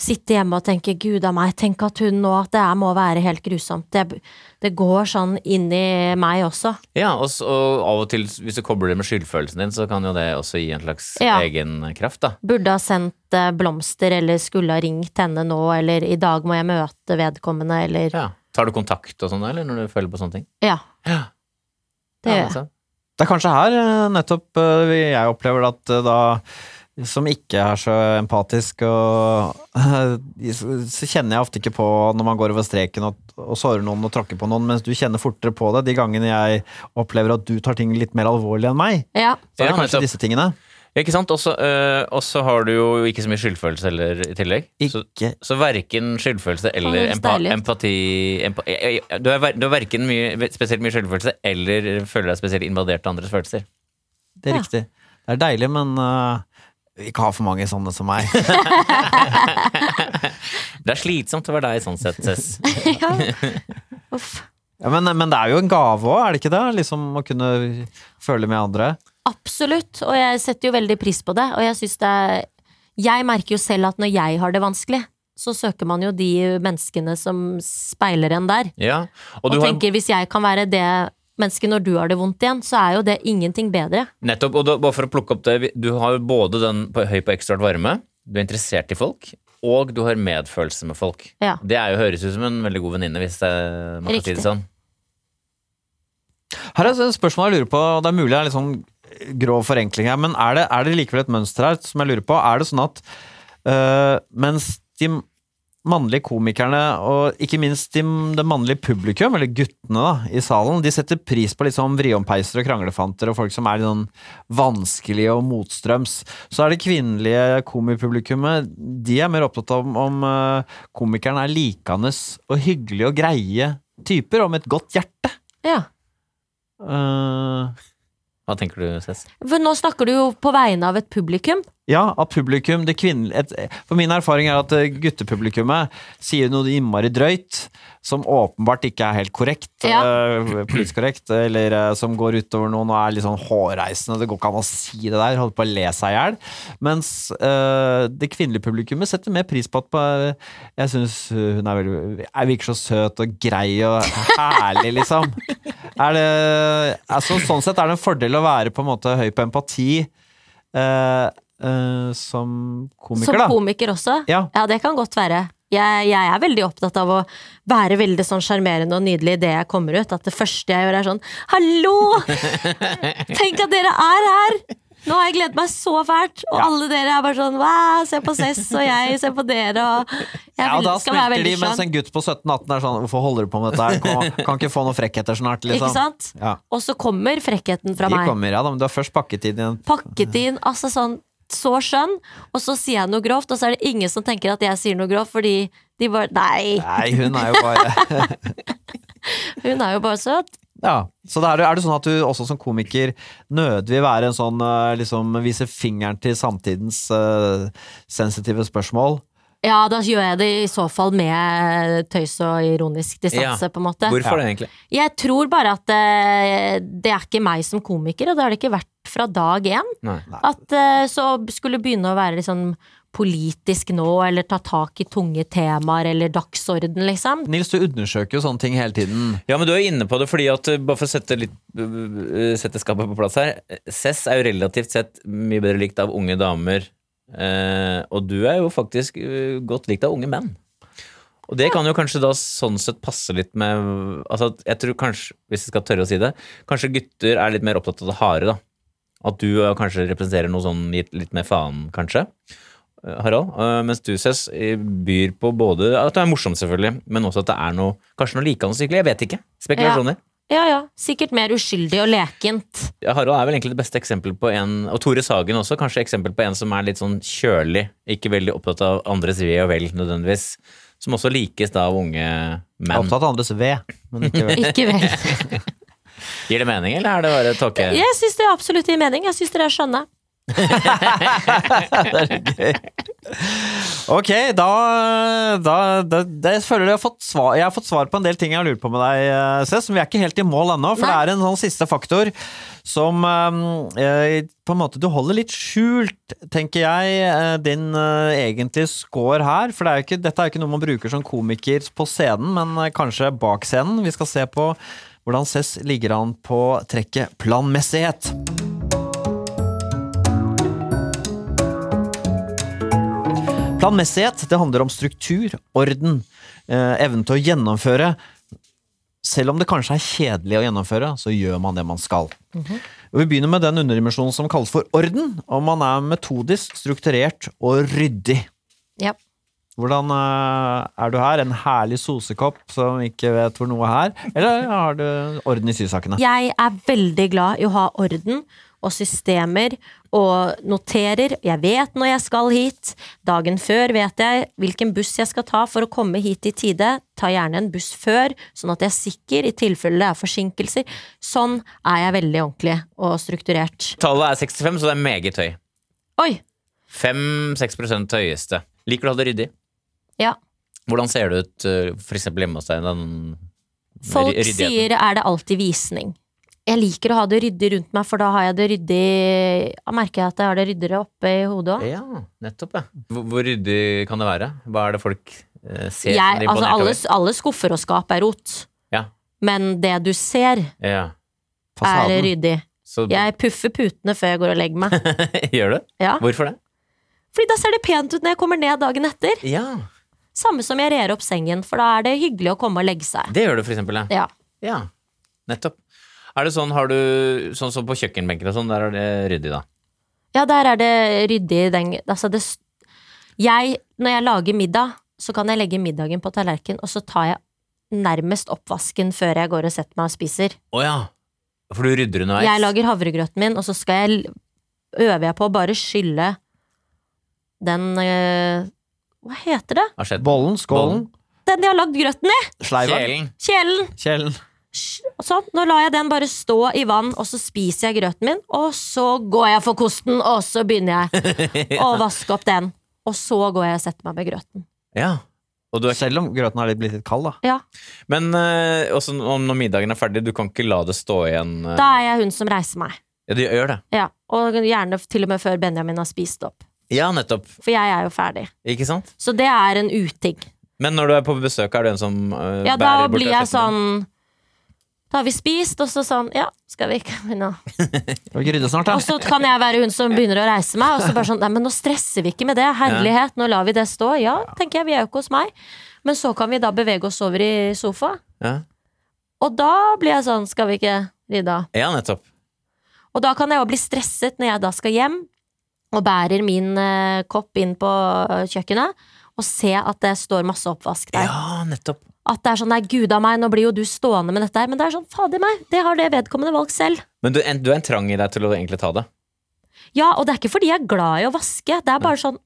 [SPEAKER 4] sitte hjemme og tenke 'gud a meg', tenk at hun nå At det her må være helt grusomt. Det, det går sånn inn i meg også.
[SPEAKER 3] Ja, og, s- og av og til, hvis du kobler det med skyldfølelsen din, så kan jo det også gi en slags
[SPEAKER 4] Ja.
[SPEAKER 3] egen kraft, da.
[SPEAKER 4] Burde ha sendt eh, blomster, eller skulle ha ringt henne nå, eller 'i dag må jeg møte vedkommende', eller
[SPEAKER 3] Ja. Tar du kontakt og sånn, eller når du føler på sånne ting? altså.
[SPEAKER 4] Ja.
[SPEAKER 3] Ja.
[SPEAKER 4] Det gjør
[SPEAKER 3] ikke
[SPEAKER 4] jeg.
[SPEAKER 3] sant?
[SPEAKER 2] Det er kanskje her eh, nettopp eh, jeg opplever at eh, da som ikke er så empatisk, og, eh, så så kjenner jeg ofte ikke på når man går over streken og, og sårer noen og tråkker på noen, mens du kjenner fortere på det de gangene jeg opplever at du tar ting litt mer alvorlig enn meg.
[SPEAKER 4] ja.
[SPEAKER 2] Så er
[SPEAKER 3] Ja,
[SPEAKER 2] det kanskje
[SPEAKER 3] nettopp.
[SPEAKER 2] disse tingene.
[SPEAKER 3] Ikke sant? Og så øh, og så har du jo ikke så mye skyldfølelse heller i tillegg. Så,
[SPEAKER 2] Ikke
[SPEAKER 3] så verken skyldfølelse
[SPEAKER 4] Å,
[SPEAKER 3] eller
[SPEAKER 4] det høres
[SPEAKER 3] empa,
[SPEAKER 4] deilig ut.
[SPEAKER 3] empati empa, eh, eh, Du har ver- du har verken mye, spesielt mye skyldfølelse eller føler deg spesielt invadert av andres følelser.
[SPEAKER 2] Det er
[SPEAKER 4] Ja.
[SPEAKER 2] riktig. Det er deilig, men øh, ikke ha for mange sånne som meg.
[SPEAKER 3] Det er slitsomt å være deg sånn sett, Cess.
[SPEAKER 4] ja. Uff.
[SPEAKER 2] Ja, men, men det er jo en gave òg, er det ikke det? Liksom Å kunne føle med andre.
[SPEAKER 4] Absolutt, og jeg setter jo veldig pris på det. Og jeg synes det er Jeg merker jo selv at når jeg har det vanskelig, så søker man jo de menneskene som speiler en der.
[SPEAKER 3] Ja.
[SPEAKER 4] Og,
[SPEAKER 3] Og du har
[SPEAKER 4] tenker hvis jeg kan være det mennesket når du har det vondt igjen, så er jo det ingenting bedre.
[SPEAKER 3] Nettopp, og da, bare for å plukke opp det, vi- du har jo både den på, høy på ekstraordinær varme, du er interessert i folk, og du har medfølelse med folk.
[SPEAKER 4] Ja.
[SPEAKER 3] Det er jo høres ut som en veldig god venninne, hvis det, man kan si det
[SPEAKER 4] Riktig.
[SPEAKER 3] sånn.
[SPEAKER 2] Her er et spørsmål jeg lurer på, og det er mulig det er litt sånn grov forenkling her, men er det, er det likevel et mønster her som jeg lurer på? Er det sånn at øh, mens de mannlige komikerne, og ikke minst de, det mannlige publikum, eller guttene da, i salen, de setter pris på litt sånn vriompeiser og kranglefanter og folk som er litt sånn vanskelige og motstrøms. Så er det kvinnelige komipublikummet, de er mer opptatt av om, om øh, komikerne er likende og hyggelige og greie typer, og med et godt hjerte.
[SPEAKER 4] Ja.
[SPEAKER 2] Øh,
[SPEAKER 3] Hva tenker du, Cess?
[SPEAKER 4] For nå snakker du jo på vegne av et publikum.
[SPEAKER 2] Ja, at publikum det kvinnelige et, For min erfaring er at eh, guttepublikummet sier noe innmari drøyt, som åpenbart ikke er helt korrekt,
[SPEAKER 4] Ja.
[SPEAKER 2] eh, politisk korrekt, eller eh, som går utover noen og er litt sånn hårreisende. Det går ikke an å si det der, holder på å le seg i hjel. Mens eh, det kvinnelige publikummet setter mer pris på at på, jeg syns hun er veldig Jeg virker så søt og grei og herlig, liksom. Er det, altså, sånn sett er det en fordel å være på en måte høy på empati. Eh, eh, som komiker,
[SPEAKER 4] som
[SPEAKER 2] da.
[SPEAKER 4] komiker også.
[SPEAKER 2] Ja.
[SPEAKER 4] det kan godt være. Jeg, jeg er veldig opptatt av å være veldig sånn sjarmerende og nydelig idet jeg kommer ut. At det første jeg gjør, er sånn Hallo! Tenk at dere er her! Nå har jeg gledet meg så fælt, og
[SPEAKER 2] Ja.
[SPEAKER 4] alle dere er bare sånn Wow, se på Cess, og jeg ser på dere, og jeg
[SPEAKER 2] ja, og
[SPEAKER 4] vil,
[SPEAKER 2] da
[SPEAKER 4] skal være
[SPEAKER 2] smelter de,
[SPEAKER 4] veldig
[SPEAKER 2] mens
[SPEAKER 4] sjarm.
[SPEAKER 2] en gutt på 17-18 er sånn Hvorfor holder du på med dette her? Kan, kan ikke få noen frekkheter snart, liksom.
[SPEAKER 4] Ikke sant?
[SPEAKER 2] Ja.
[SPEAKER 4] Og så kommer frekkheten fra
[SPEAKER 2] De
[SPEAKER 4] meg.
[SPEAKER 2] kommer, ja da, men du har først pakket inn i en
[SPEAKER 4] pakket inn, altså sånn så skjønn, og så sier jeg noe grovt, og så er det ingen som tenker at jeg sier noe grovt, fordi de bare Nei,
[SPEAKER 2] Nei, hun er jo bare
[SPEAKER 4] hun er jo bare søt.
[SPEAKER 2] Ja. Så det er, jo- er det sånn at du også som komiker nødig vil være en sånn eh, liksom vise fingeren til samtidens eh, sensitive spørsmål?
[SPEAKER 4] Ja, da gjør jeg det i så fall med tøys og ironisk distanse,
[SPEAKER 3] Ja.
[SPEAKER 4] på en måte.
[SPEAKER 3] Hvorfor det, egentlig?
[SPEAKER 4] Jeg tror bare at eh, det er ikke meg som komiker, og det har det ikke vært fra dag én.
[SPEAKER 3] Nei.
[SPEAKER 4] At eh, så skulle begynne å være litt sånn politisk nå, eller ta tak i tunge temaer, eller dagsorden, liksom.
[SPEAKER 2] Nils, du undersøker jo sånne ting hele tiden.
[SPEAKER 3] Ja, men du er inne på det, fordi at, eh, bare for å sette, litt, eh, sette skapet på plass her, eh, Cess er jo relativt sett mye bedre likt av unge damer, eh, og du er jo faktisk eh, godt likt av unge menn. Og det kan jo kanskje da sånn sett passe litt med altså at Jeg tror kanskje, hvis jeg skal tørre å si det, kanskje gutter er litt mer opptatt av det harde, da. At du eh, kanskje representerer noe sånn litt, litt mer faen, kanskje. eh, Harald, eh, mens du ses eh, byr på både at det er morsomt, selvfølgelig, men også at det er noe kanskje noe likende sykelig. Jeg vet ikke. Spekulasjoner.
[SPEAKER 4] Ja ja, sikkert mer uskyldig og lekent.
[SPEAKER 3] Ja, Harald er vel egentlig det beste eksempelet på en, og Tore Sagen også, kanskje eksempel på en som er litt sånn kjølig, ikke veldig opptatt av andres ve og vel nødvendigvis, som også likes da av unge
[SPEAKER 2] Jeg er
[SPEAKER 3] menn.
[SPEAKER 2] opptatt av andres ved, men ikke ved.
[SPEAKER 4] Ikke vel.
[SPEAKER 3] Gir det mening, eller er det bare tåke?
[SPEAKER 4] Jeg syns det er absolutt gir mening. Jeg syns dere er skjønne.
[SPEAKER 2] Ok, da, da, da, da jeg føler jeg har, fått svar, jeg har fått svar på en del ting jeg har lurt på med deg, eh, Cess. Men vi er ikke helt i mål ennå, for
[SPEAKER 4] Nei.
[SPEAKER 2] det er en sånn siste faktor som eh, eh, på en måte du holder litt skjult, tenker jeg, eh, din eh, egentlige score her. For det er jo ikke, dette er jo ikke noe man bruker som komiker på scenen, men eh, kanskje bak scenen. Vi skal se på hvordan Cess ligger an på trekket planmessighet. Planmessighet det handler om struktur, orden, eh, evnen til å gjennomføre. Selv om det kanskje er kjedelig å gjennomføre, så gjør man det man skal. Og Vi begynner med den underdimensjonen som kalles for orden. Om man er metodisk, strukturert og ryddig.
[SPEAKER 4] Ja.
[SPEAKER 2] Hvordan eh, er du her? En herlig sosekopp som ikke vet hvor noe er? Eller har du orden i sysakene?
[SPEAKER 4] Jeg er veldig glad i å ha orden og systemer og noterer. Jeg vet når jeg skal hit. Dagen før vet jeg hvilken buss jeg skal ta for å komme hit i tide. Ta gjerne en buss før, sånn at jeg er sikker i tilfelle det er forsinkelser. Sånn er jeg veldig ordentlig og strukturert.
[SPEAKER 3] Tallet er 65, så det er meget høy.
[SPEAKER 4] Oi!
[SPEAKER 3] 5-6 høyeste. Liker du å ha det ryddig?
[SPEAKER 4] Ja.
[SPEAKER 3] Hvordan ser det ut eh, for eksempel hjemme hos deg? Den
[SPEAKER 4] Folk
[SPEAKER 3] ry- ryddigheten?
[SPEAKER 4] sier er det alltid visning. Jeg liker å ha det ryddig rundt meg, for da har jeg det ryddig Da merker jeg at jeg har det ryddigere oppe i hodet òg.
[SPEAKER 3] Ja, nettopp, ja. Hvor, hvor ryddig kan det være? Hva er det folk eh, ser som de
[SPEAKER 4] Jeg,
[SPEAKER 3] er
[SPEAKER 4] altså,
[SPEAKER 3] imponert
[SPEAKER 4] alle,
[SPEAKER 3] over?
[SPEAKER 4] alle skuffer og skap er rot.
[SPEAKER 3] Ja.
[SPEAKER 4] Men det du ser,
[SPEAKER 3] Ja.
[SPEAKER 4] er
[SPEAKER 2] Fasaden.
[SPEAKER 4] ryddig.
[SPEAKER 3] Så
[SPEAKER 4] Jeg puffer putene før jeg går og legger meg.
[SPEAKER 3] gjør det?
[SPEAKER 4] Ja.
[SPEAKER 3] Hvorfor det?
[SPEAKER 4] Fordi da ser det pent ut når jeg kommer ned dagen etter.
[SPEAKER 3] Ja,
[SPEAKER 4] Samme som jeg rer opp sengen, for da er det hyggelig å komme og legge seg.
[SPEAKER 3] det gjør det for eksempel, ja.
[SPEAKER 4] Ja.
[SPEAKER 3] ja. Nettopp. Er det sånn, har du, sånn som på kjøkkenbenken og sånn, der er det ryddig da?
[SPEAKER 4] ja, der er det ryddig i den altså det, s- jeg, Når jeg lager middag, så kan jeg legge middagen på tallerken, og så tar jeg nærmest oppvasken før jeg går og setter meg og spiser.
[SPEAKER 3] Åja, for du rydder underveis.
[SPEAKER 4] Jeg lager havregrøten min, og så skal jeg, øver jeg på å bare skylle den eh, Hva heter det?
[SPEAKER 3] Hva skjedde?
[SPEAKER 2] Bollen, skålen,
[SPEAKER 4] Den jeg har lagd grøten i!
[SPEAKER 2] sleiva,
[SPEAKER 3] Kjelen.
[SPEAKER 4] Kjelen!
[SPEAKER 2] kjelen.
[SPEAKER 4] Sj- og Sånn. Nå lar jeg den bare stå i vann, og så spiser jeg grøten min. Og så går jeg for kosten, og så begynner jeg å vaske opp den. Og så går jeg og setter meg med grøten.
[SPEAKER 3] Ja. Og du er
[SPEAKER 2] Selv om grøten har litt- blitt litt kald, da.
[SPEAKER 4] Ja,
[SPEAKER 3] Men eh, også om når middagen er ferdig, du kan ikke la det stå igjen eh.
[SPEAKER 4] Da er jeg hun som reiser meg.
[SPEAKER 3] Ja, du gjør det.
[SPEAKER 4] Ja, Og gjerne til og med før Benjamin har spist opp.
[SPEAKER 3] Ja, nettopp.
[SPEAKER 4] For jeg er jo ferdig.
[SPEAKER 3] Ikke sant?
[SPEAKER 4] Så det er en uting.
[SPEAKER 3] Men når du er på besøk, er du en som eh,
[SPEAKER 4] Ja, da
[SPEAKER 3] bærer bort
[SPEAKER 4] blir jeg
[SPEAKER 3] kassetten din?
[SPEAKER 4] sånn Da har vi spist, og så sånn Ja, skal vi ikke begynne å
[SPEAKER 2] Skal vi ikke rydde snart, da?
[SPEAKER 4] Og så kan jeg være hun som begynner å reise meg, og så bare sånn Nei, men nå stresser vi ikke med det. Herlighet, nå lar vi det stå. Ja, tenker jeg, vi er jo ikke hos meg. Men så kan vi da bevege oss over i sofa,
[SPEAKER 3] Ja.
[SPEAKER 4] og da blir jeg sånn Skal vi ikke rydde av?
[SPEAKER 3] ja, nettopp.
[SPEAKER 4] Og da kan jeg jo bli stresset når jeg da skal hjem og bærer min eh, kopp inn på eh, kjøkkenet. Og se at det står masse oppvask der.
[SPEAKER 3] Ja, nettopp.
[SPEAKER 4] At det er sånn, nei, gud av meg, nå blir jo du stående med dette her. Men det er sånn, fader meg, det har det vedkommende valgt selv.
[SPEAKER 3] Men du, en, du er en trang i deg til å egentlig ta det.
[SPEAKER 4] Ja, og det er ikke fordi jeg er glad i å vaske. Det er bare sånn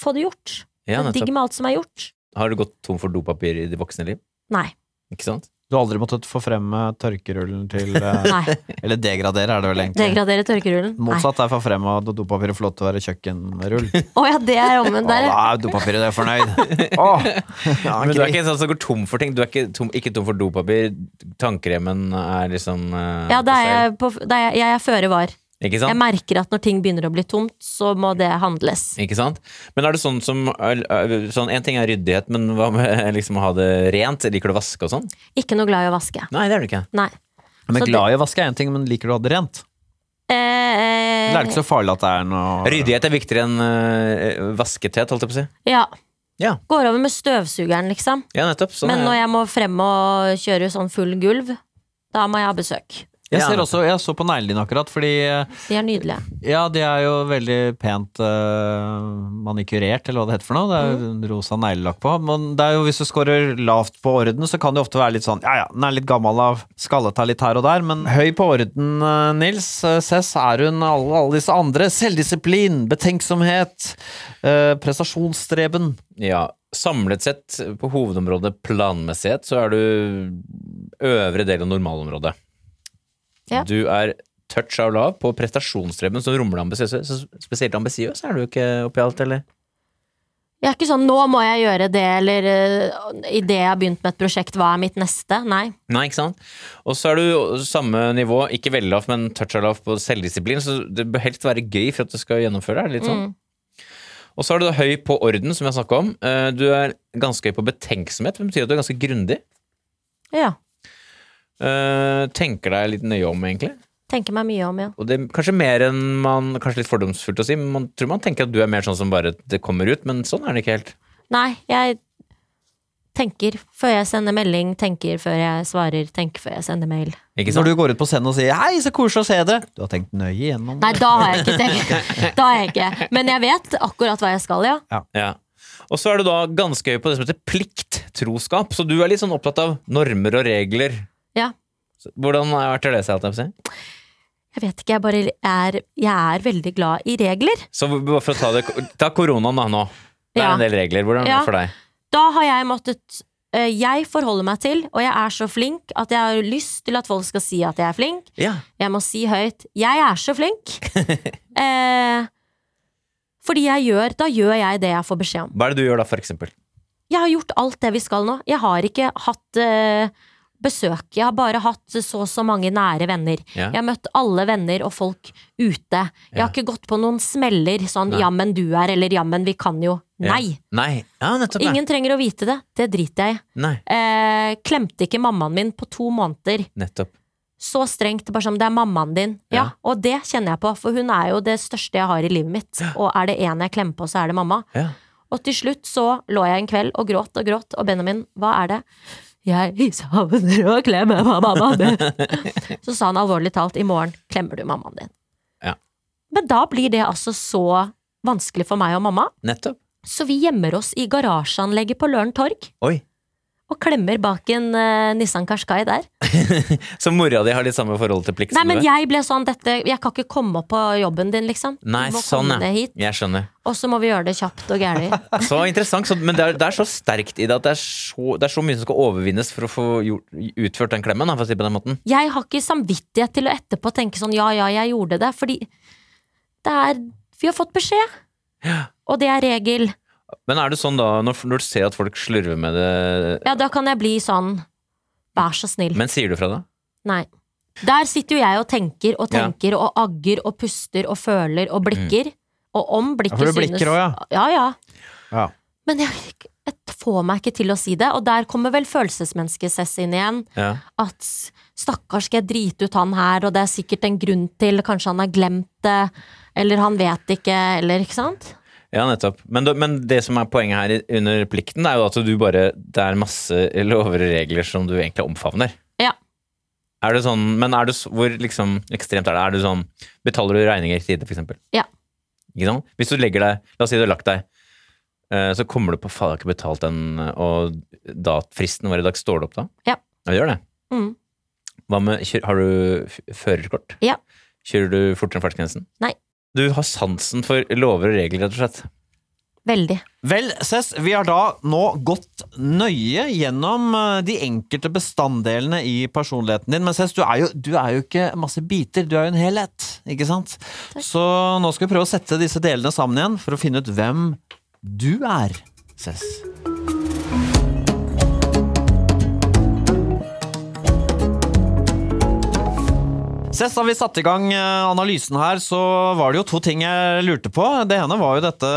[SPEAKER 4] Få det gjort.
[SPEAKER 3] Ja,
[SPEAKER 4] det er digg
[SPEAKER 3] nettopp.
[SPEAKER 4] med alt som er gjort.
[SPEAKER 3] Har du gått tom for dopapir i det voksne liv?
[SPEAKER 4] Nei.
[SPEAKER 3] Ikke sant?
[SPEAKER 2] Du har aldri måttet forfremme tørkerullen til eh,
[SPEAKER 4] nei
[SPEAKER 2] Eller degradere, er det vel egentlig.
[SPEAKER 4] Degradere tørkerullen. Nei.
[SPEAKER 2] Motsatt er forfremma og dopapiret får lov til å være kjøkkenrull.
[SPEAKER 4] Å ja, det er
[SPEAKER 2] Å,
[SPEAKER 4] omvendt.
[SPEAKER 2] da
[SPEAKER 4] Der.
[SPEAKER 2] er dopapiret det er fornøyd! Åh, ja,
[SPEAKER 3] Men du er
[SPEAKER 2] grei.
[SPEAKER 3] ikke en sånn som går tom for ting. Du er ikke tom, ikke tom for dopapir. Tannkremen er liksom eh,
[SPEAKER 4] Ja,
[SPEAKER 3] på
[SPEAKER 4] da er
[SPEAKER 3] stell.
[SPEAKER 4] jeg, på, da er jeg, jeg er føre var.
[SPEAKER 3] Ikke
[SPEAKER 4] Jeg
[SPEAKER 3] sant?
[SPEAKER 4] merker at når ting begynner å bli tomt, så må det handles.
[SPEAKER 3] Ikke sant? Men er det sånn som er- er- sånn, En ting er ryddighet, men hva med liksom å ha det rent? Liker du å vaske og sånn?
[SPEAKER 4] Ikke noe glad i å vaske.
[SPEAKER 3] Nei, det er du ikke.
[SPEAKER 4] Nei.
[SPEAKER 2] Men
[SPEAKER 4] Så
[SPEAKER 2] glad i å vaske er én ting, men liker du å ha det rent? Det
[SPEAKER 4] Eh,
[SPEAKER 2] er ikke så farlig at det er noe
[SPEAKER 3] Ryddighet er viktigere enn øh, vaskethet, holdt jeg på å si.
[SPEAKER 4] ja.
[SPEAKER 3] Ja.
[SPEAKER 4] Går over med støvsugeren, liksom.
[SPEAKER 3] Ja, nettopp. Sånn
[SPEAKER 4] Men
[SPEAKER 3] er
[SPEAKER 4] når
[SPEAKER 3] jeg.
[SPEAKER 4] jeg må frem og kjøre sånn full gulv, da må jeg ha besøk.
[SPEAKER 2] Jeg ser også, jeg så på neglene dine akkurat, fordi eh,
[SPEAKER 4] De er nydelige.
[SPEAKER 2] ja, de er jo veldig pent eh, manikurert, eller hva det heter for noe. Det er jo rosa neglelakk på. Men det er jo, hvis du scorer lavt på orden, så kan det jo ofte være litt sånn ja ja, den er litt gammel av skallet her litt her og der, men høy på orden, eh, Nils. Eh, Cess er hun alle, alle disse andre. Selvdisiplin, betenksomhet, eh, prestasjonsstreben.
[SPEAKER 3] Ja, samlet sett på hovedområdet planmessighet, så er du øvre del av normalområdet.
[SPEAKER 4] Ja.
[SPEAKER 3] Du er touch av lav på prestasjonsstreben som rommer deg ambisiøs. Så spesielt ambisiøs er du jo ikke oppi alt, eller?
[SPEAKER 4] Jeg er ikke sånn 'nå må jeg gjøre det', eller eh, i idet jeg har begynt med et prosjekt, hva er mitt neste? Nei.
[SPEAKER 3] Nei, ikke sant? Og så er du samme nivå, ikke veldig lavt, men touch av lavt på selvdisiplin, så det bør helst være gøy for at du skal gjennomføre det. er det litt sånn. Og så er du da høy på orden, som jeg snakka om. Eh, Du er ganske høy på betenksomhet, det betyr at du er ganske grundig.
[SPEAKER 4] Ja.
[SPEAKER 3] Eh, Tenker deg litt nøye om, egentlig.
[SPEAKER 4] Tenker meg mye om, ja.
[SPEAKER 3] Og det er kanskje mer enn man Kanskje litt fordomsfullt å si, men man tror man tenker at du er mer sånn som bare det kommer ut, men sånn er det ikke helt.
[SPEAKER 4] Nei, jeg tenker før jeg sender melding, tenker før jeg svarer, tenker før jeg sender mail.
[SPEAKER 3] Ikke
[SPEAKER 2] Når
[SPEAKER 3] sant?
[SPEAKER 2] du går ut på scenen og sier 'hei, så koselig å se deg', du har tenkt nøye gjennom
[SPEAKER 4] Nei, da har jeg ikke tenkt. Da har jeg ikke. Men jeg vet akkurat hva jeg skal, ja.
[SPEAKER 3] Ja. Og så er du da ganske høy på det som heter plikttroskap, så du er litt sånn opptatt av normer og regler.
[SPEAKER 4] Ja.
[SPEAKER 3] Så Hvordan har vært det seg? holdt jeg på å si?
[SPEAKER 4] Jeg vet ikke, jeg bare er Jeg er veldig glad i regler.
[SPEAKER 3] Så bare for å ta det Ta koronaen da nå. Det er
[SPEAKER 4] Ja.
[SPEAKER 3] en del regler. Hvordan er det
[SPEAKER 4] Ja.
[SPEAKER 3] for deg?
[SPEAKER 4] Da har jeg måttet eh, Jeg forholder meg til, og jeg er så flink at jeg har lyst til at folk skal si at jeg er flink.
[SPEAKER 3] Ja.
[SPEAKER 4] Jeg må si høyt 'jeg er så flink'. eh, fordi jeg gjør Da gjør jeg det jeg får beskjed om.
[SPEAKER 3] Hva er det du gjør da, for eksempel?
[SPEAKER 4] Jeg har gjort alt det vi skal nå. Jeg har ikke hatt eh, besøk. Jeg har bare hatt så og så mange nære venner.
[SPEAKER 3] Ja.
[SPEAKER 4] Jeg har møtt alle venner og folk ute. Jeg
[SPEAKER 3] Ja.
[SPEAKER 4] har ikke gått på noen smeller sånn
[SPEAKER 3] Nei.
[SPEAKER 4] 'jammen du er' eller 'jammen vi kan jo'. Nei!
[SPEAKER 3] Ja. Nei. Ja, nettopp. ja.
[SPEAKER 4] Ingen trenger å vite det. Det driter jeg i.
[SPEAKER 3] Nei.
[SPEAKER 4] Eh, klemte ikke mammaen min på to måneder.
[SPEAKER 3] Nettopp.
[SPEAKER 4] Så strengt, bare som det er mammaen din. Ja.
[SPEAKER 3] Ja.
[SPEAKER 4] Og det kjenner jeg på, for hun er jo det største jeg har i livet mitt. Og er det én jeg klemmer på, så er det mamma.
[SPEAKER 3] Ja.
[SPEAKER 4] Og til slutt så lå jeg en kveld og gråt og gråt, og Benjamin, hva er det? Jeg savner å klemme mammaen min. Så sa han alvorlig talt, i morgen klemmer du mammaen din.
[SPEAKER 3] Ja.
[SPEAKER 4] Men da blir det altså så vanskelig for meg og mamma,
[SPEAKER 3] Nettopp.
[SPEAKER 4] så vi gjemmer oss i garasjeanlegget på Løren Torg
[SPEAKER 3] Oi.
[SPEAKER 4] og klemmer bak en eh, Nissan Qashqai der.
[SPEAKER 3] Så mora di har litt samme forhold til plikt
[SPEAKER 4] Nei,
[SPEAKER 3] som
[SPEAKER 4] men
[SPEAKER 3] du? er?
[SPEAKER 4] jeg ble sånn, dette, jeg kan ikke komme opp på jobben din, liksom. Du
[SPEAKER 3] Nei,
[SPEAKER 4] må
[SPEAKER 3] sånn,
[SPEAKER 4] komme
[SPEAKER 3] ja.
[SPEAKER 4] deg hit,
[SPEAKER 3] Jeg skjønner.
[SPEAKER 4] og så må vi gjøre det kjapt og gærlig.
[SPEAKER 3] Så interessant. Så, men det er, det er så sterkt i det at det er så, det er så mye som skal overvinnes for å få gjort, utført den klemmen, da, for å si det på den måten.
[SPEAKER 4] jeg har ikke samvittighet til å etterpå tenke sånn ja, ja, jeg gjorde det, fordi det er Vi har fått beskjed, og det er regel.
[SPEAKER 3] Men er det sånn da, når, når du ser at folk slurver med det
[SPEAKER 4] Ja, da kan jeg bli sånn Vær så snill.
[SPEAKER 3] Men sier du fra det?
[SPEAKER 4] Nei. Der sitter jo jeg og tenker og
[SPEAKER 3] Ja.
[SPEAKER 4] tenker og agger og puster og føler og blikker. Og om blikket
[SPEAKER 2] Mm. for du
[SPEAKER 4] synes
[SPEAKER 2] blikker også,
[SPEAKER 4] ja. ja,
[SPEAKER 2] Ja.
[SPEAKER 4] Men jeg, jeg får meg ikke til å si det, og der kommer vel følelsesmennesket Cess inn igjen.
[SPEAKER 3] Ja.
[SPEAKER 4] at stakkars skal jeg drite ut han her, og det er sikkert en grunn til, kanskje han har glemt det, eller han vet ikke, eller ikke sant?
[SPEAKER 3] Ja, nettopp. Men, da- men det som er poenget her i- under plikten, er jo at du bare Det er masse lover og regler som du egentlig omfavner.
[SPEAKER 4] Ja.
[SPEAKER 3] Er det sånn, men er det, s- hvor liksom ekstremt er det? Er det sånn Betaler du regninger i tide, for eksempel?
[SPEAKER 4] Ja.
[SPEAKER 3] Ikke sant? Hvis du legger deg La oss si du har lagt deg, eh, så kommer du på Faen, jeg har ikke betalt den, og da fristen var i dag. Står det opp da?
[SPEAKER 4] Ja.
[SPEAKER 3] Ja, det gjør det.
[SPEAKER 4] Mm.
[SPEAKER 3] Hva med kjør, Har du f- førerkort?
[SPEAKER 4] Ja.
[SPEAKER 3] Kjører du fortere enn fartsgrensen?
[SPEAKER 4] Nei.
[SPEAKER 3] Du har sansen for lover og regler, rett og slett.
[SPEAKER 4] Veldig.
[SPEAKER 2] Vel, Cess, vi har da nå gått nøye gjennom eh, de enkelte bestanddelene i personligheten din. Men Cess, du, er jo- du er jo ikke masse biter, du er jo en helhet, ikke sant? Så nå skal vi prøve å sette disse delene sammen igjen for å finne ut hvem du er, Cess. Sist da vi satte i gang eh, analysen her, så var det jo to ting jeg lurte på. Det ene var jo dette,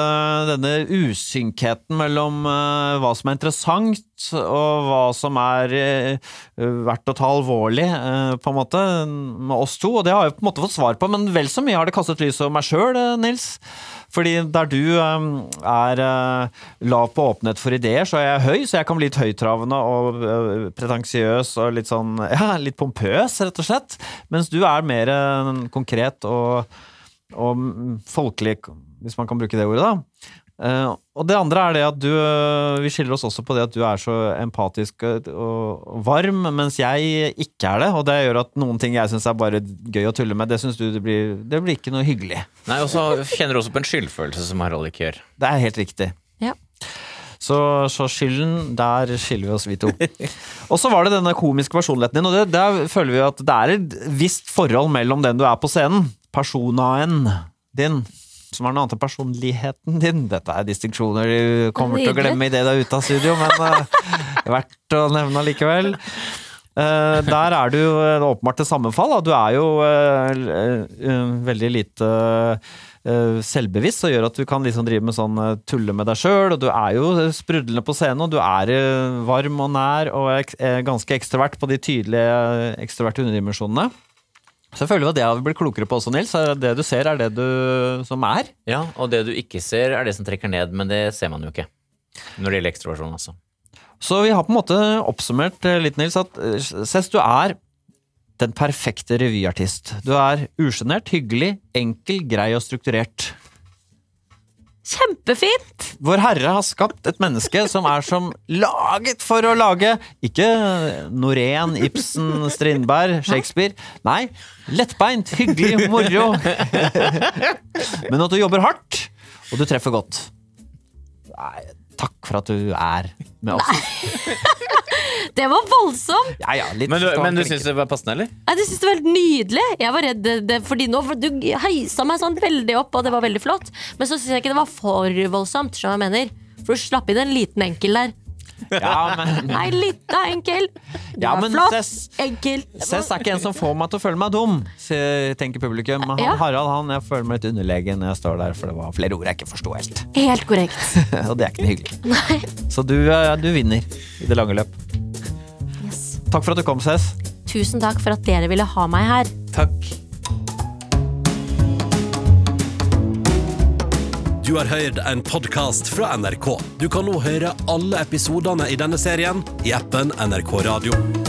[SPEAKER 2] denne usynkheten mellom eh, hva som er interessant og hva som er eh, verdt å ta alvorlig, eh, på en måte, med oss to. Og det har jeg på en måte fått svar på, men vel så mye har det kastet lys over meg sjøl, Nils. Fordi der du eh, er eh, lav på åpenhet for ideer, så er jeg høy, så jeg kan bli litt høytravende og eh, pretensiøs og litt sånn ja, litt pompøs, rett og slett. Mens du er mer eh, konkret og, og mm, folkelig, hvis man kan bruke det ordet, da. Eh, og det andre er det at du eh, Vi skiller oss også på det at du er så empatisk og, og varm, mens jeg ikke er det. Og det gjør at noen ting jeg syns er bare gøy å tulle med, det syns du det blir, det blir ikke noe hyggelig.
[SPEAKER 3] Nei, og så kjenner du også på en skyldfølelse som Harald ikke gjør.
[SPEAKER 2] Det er helt riktig.
[SPEAKER 4] Ja.
[SPEAKER 2] Så, så skylden, der skiller vi oss, vi to. Og så var det denne komiske personligheten din, og det, der føler vi at det er et visst forhold mellom den du er på scenen, personaen din, som er noe annet enn personligheten din. Dette er distinksjoner du kommer til å
[SPEAKER 4] Nydelig.
[SPEAKER 2] glemme idet du er ute av studio, men eh, verdt å nevne allikevel. Eh, der er du eh, åpenbart til sammenfall. Da. Du er jo eh, l- eh, eh, veldig lite eh, selvbevisst, som gjør at du kan liksom drive med sånn eh, tulle med deg sjøl. Og du er jo eh, sprudlende på scenen, og du er eh, varm og nær og ek eh, ganske ekstrovert på de tydelige eh, ekstroverte underdimensjonene. Så jeg føler jo at det har vi blitt klokere på også, Nils. Er Det du ser, er det du som er.
[SPEAKER 3] Ja, og det du ikke ser, er det som trekker ned, men det ser man jo ikke. Når det gjelder ekstroversjon, altså.
[SPEAKER 2] Så vi har på en måte oppsummert eh, litt, Nils, at eh, Cess, du er den perfekte revyartist. Du er usjenert, hyggelig, enkel, grei og strukturert.
[SPEAKER 4] Kjempefint!
[SPEAKER 2] Vår Herre har skapt et menneske som er som laget for å lage Ikke Norén, Ibsen, Strindberg, Shakespeare. Nei. Lettbeint, hyggelig, moro. Men at du jobber hardt, og du treffer godt. Nei, takk for at du er med oss.
[SPEAKER 4] Det var voldsomt!
[SPEAKER 2] Ja, ja, litt
[SPEAKER 3] Men du,
[SPEAKER 2] stående
[SPEAKER 3] men du
[SPEAKER 2] klinke.
[SPEAKER 3] syns det var passende, eller?
[SPEAKER 4] Nei, det synes det var helt nydelig. Jeg var redd det, det, fordi nå, for Du heisa meg sånn veldig opp, og det var veldig flott. Men så syns jeg ikke det var for voldsomt. Skjønner du hva jeg mener? For du slapp inn en liten enkel der.
[SPEAKER 2] ja, men,
[SPEAKER 4] Nei, lita enkel. Du
[SPEAKER 2] Ja,
[SPEAKER 4] var
[SPEAKER 2] men
[SPEAKER 4] flott.
[SPEAKER 2] Cess-
[SPEAKER 4] Enkel.
[SPEAKER 2] Cess er ikke en som får meg til å føle meg dum, sier- tenker publikum. Men han,
[SPEAKER 4] Ja.
[SPEAKER 2] Harald, han, jeg føler meg litt underlegen når jeg står der, for det var flere ord jeg ikke forsto helt.
[SPEAKER 4] Helt korrekt.
[SPEAKER 2] Og det er ikke noe hyggelig. Så du, eh, du vinner i det lange løp.
[SPEAKER 4] Yes.
[SPEAKER 2] Takk for at du kom, Cess.
[SPEAKER 4] Tusen takk for at dere ville ha meg her.
[SPEAKER 3] Takk.
[SPEAKER 5] Du har hørt en podkast fra NRK. Du kan nå høre alle episodene i denne serien i appen NRK Radio.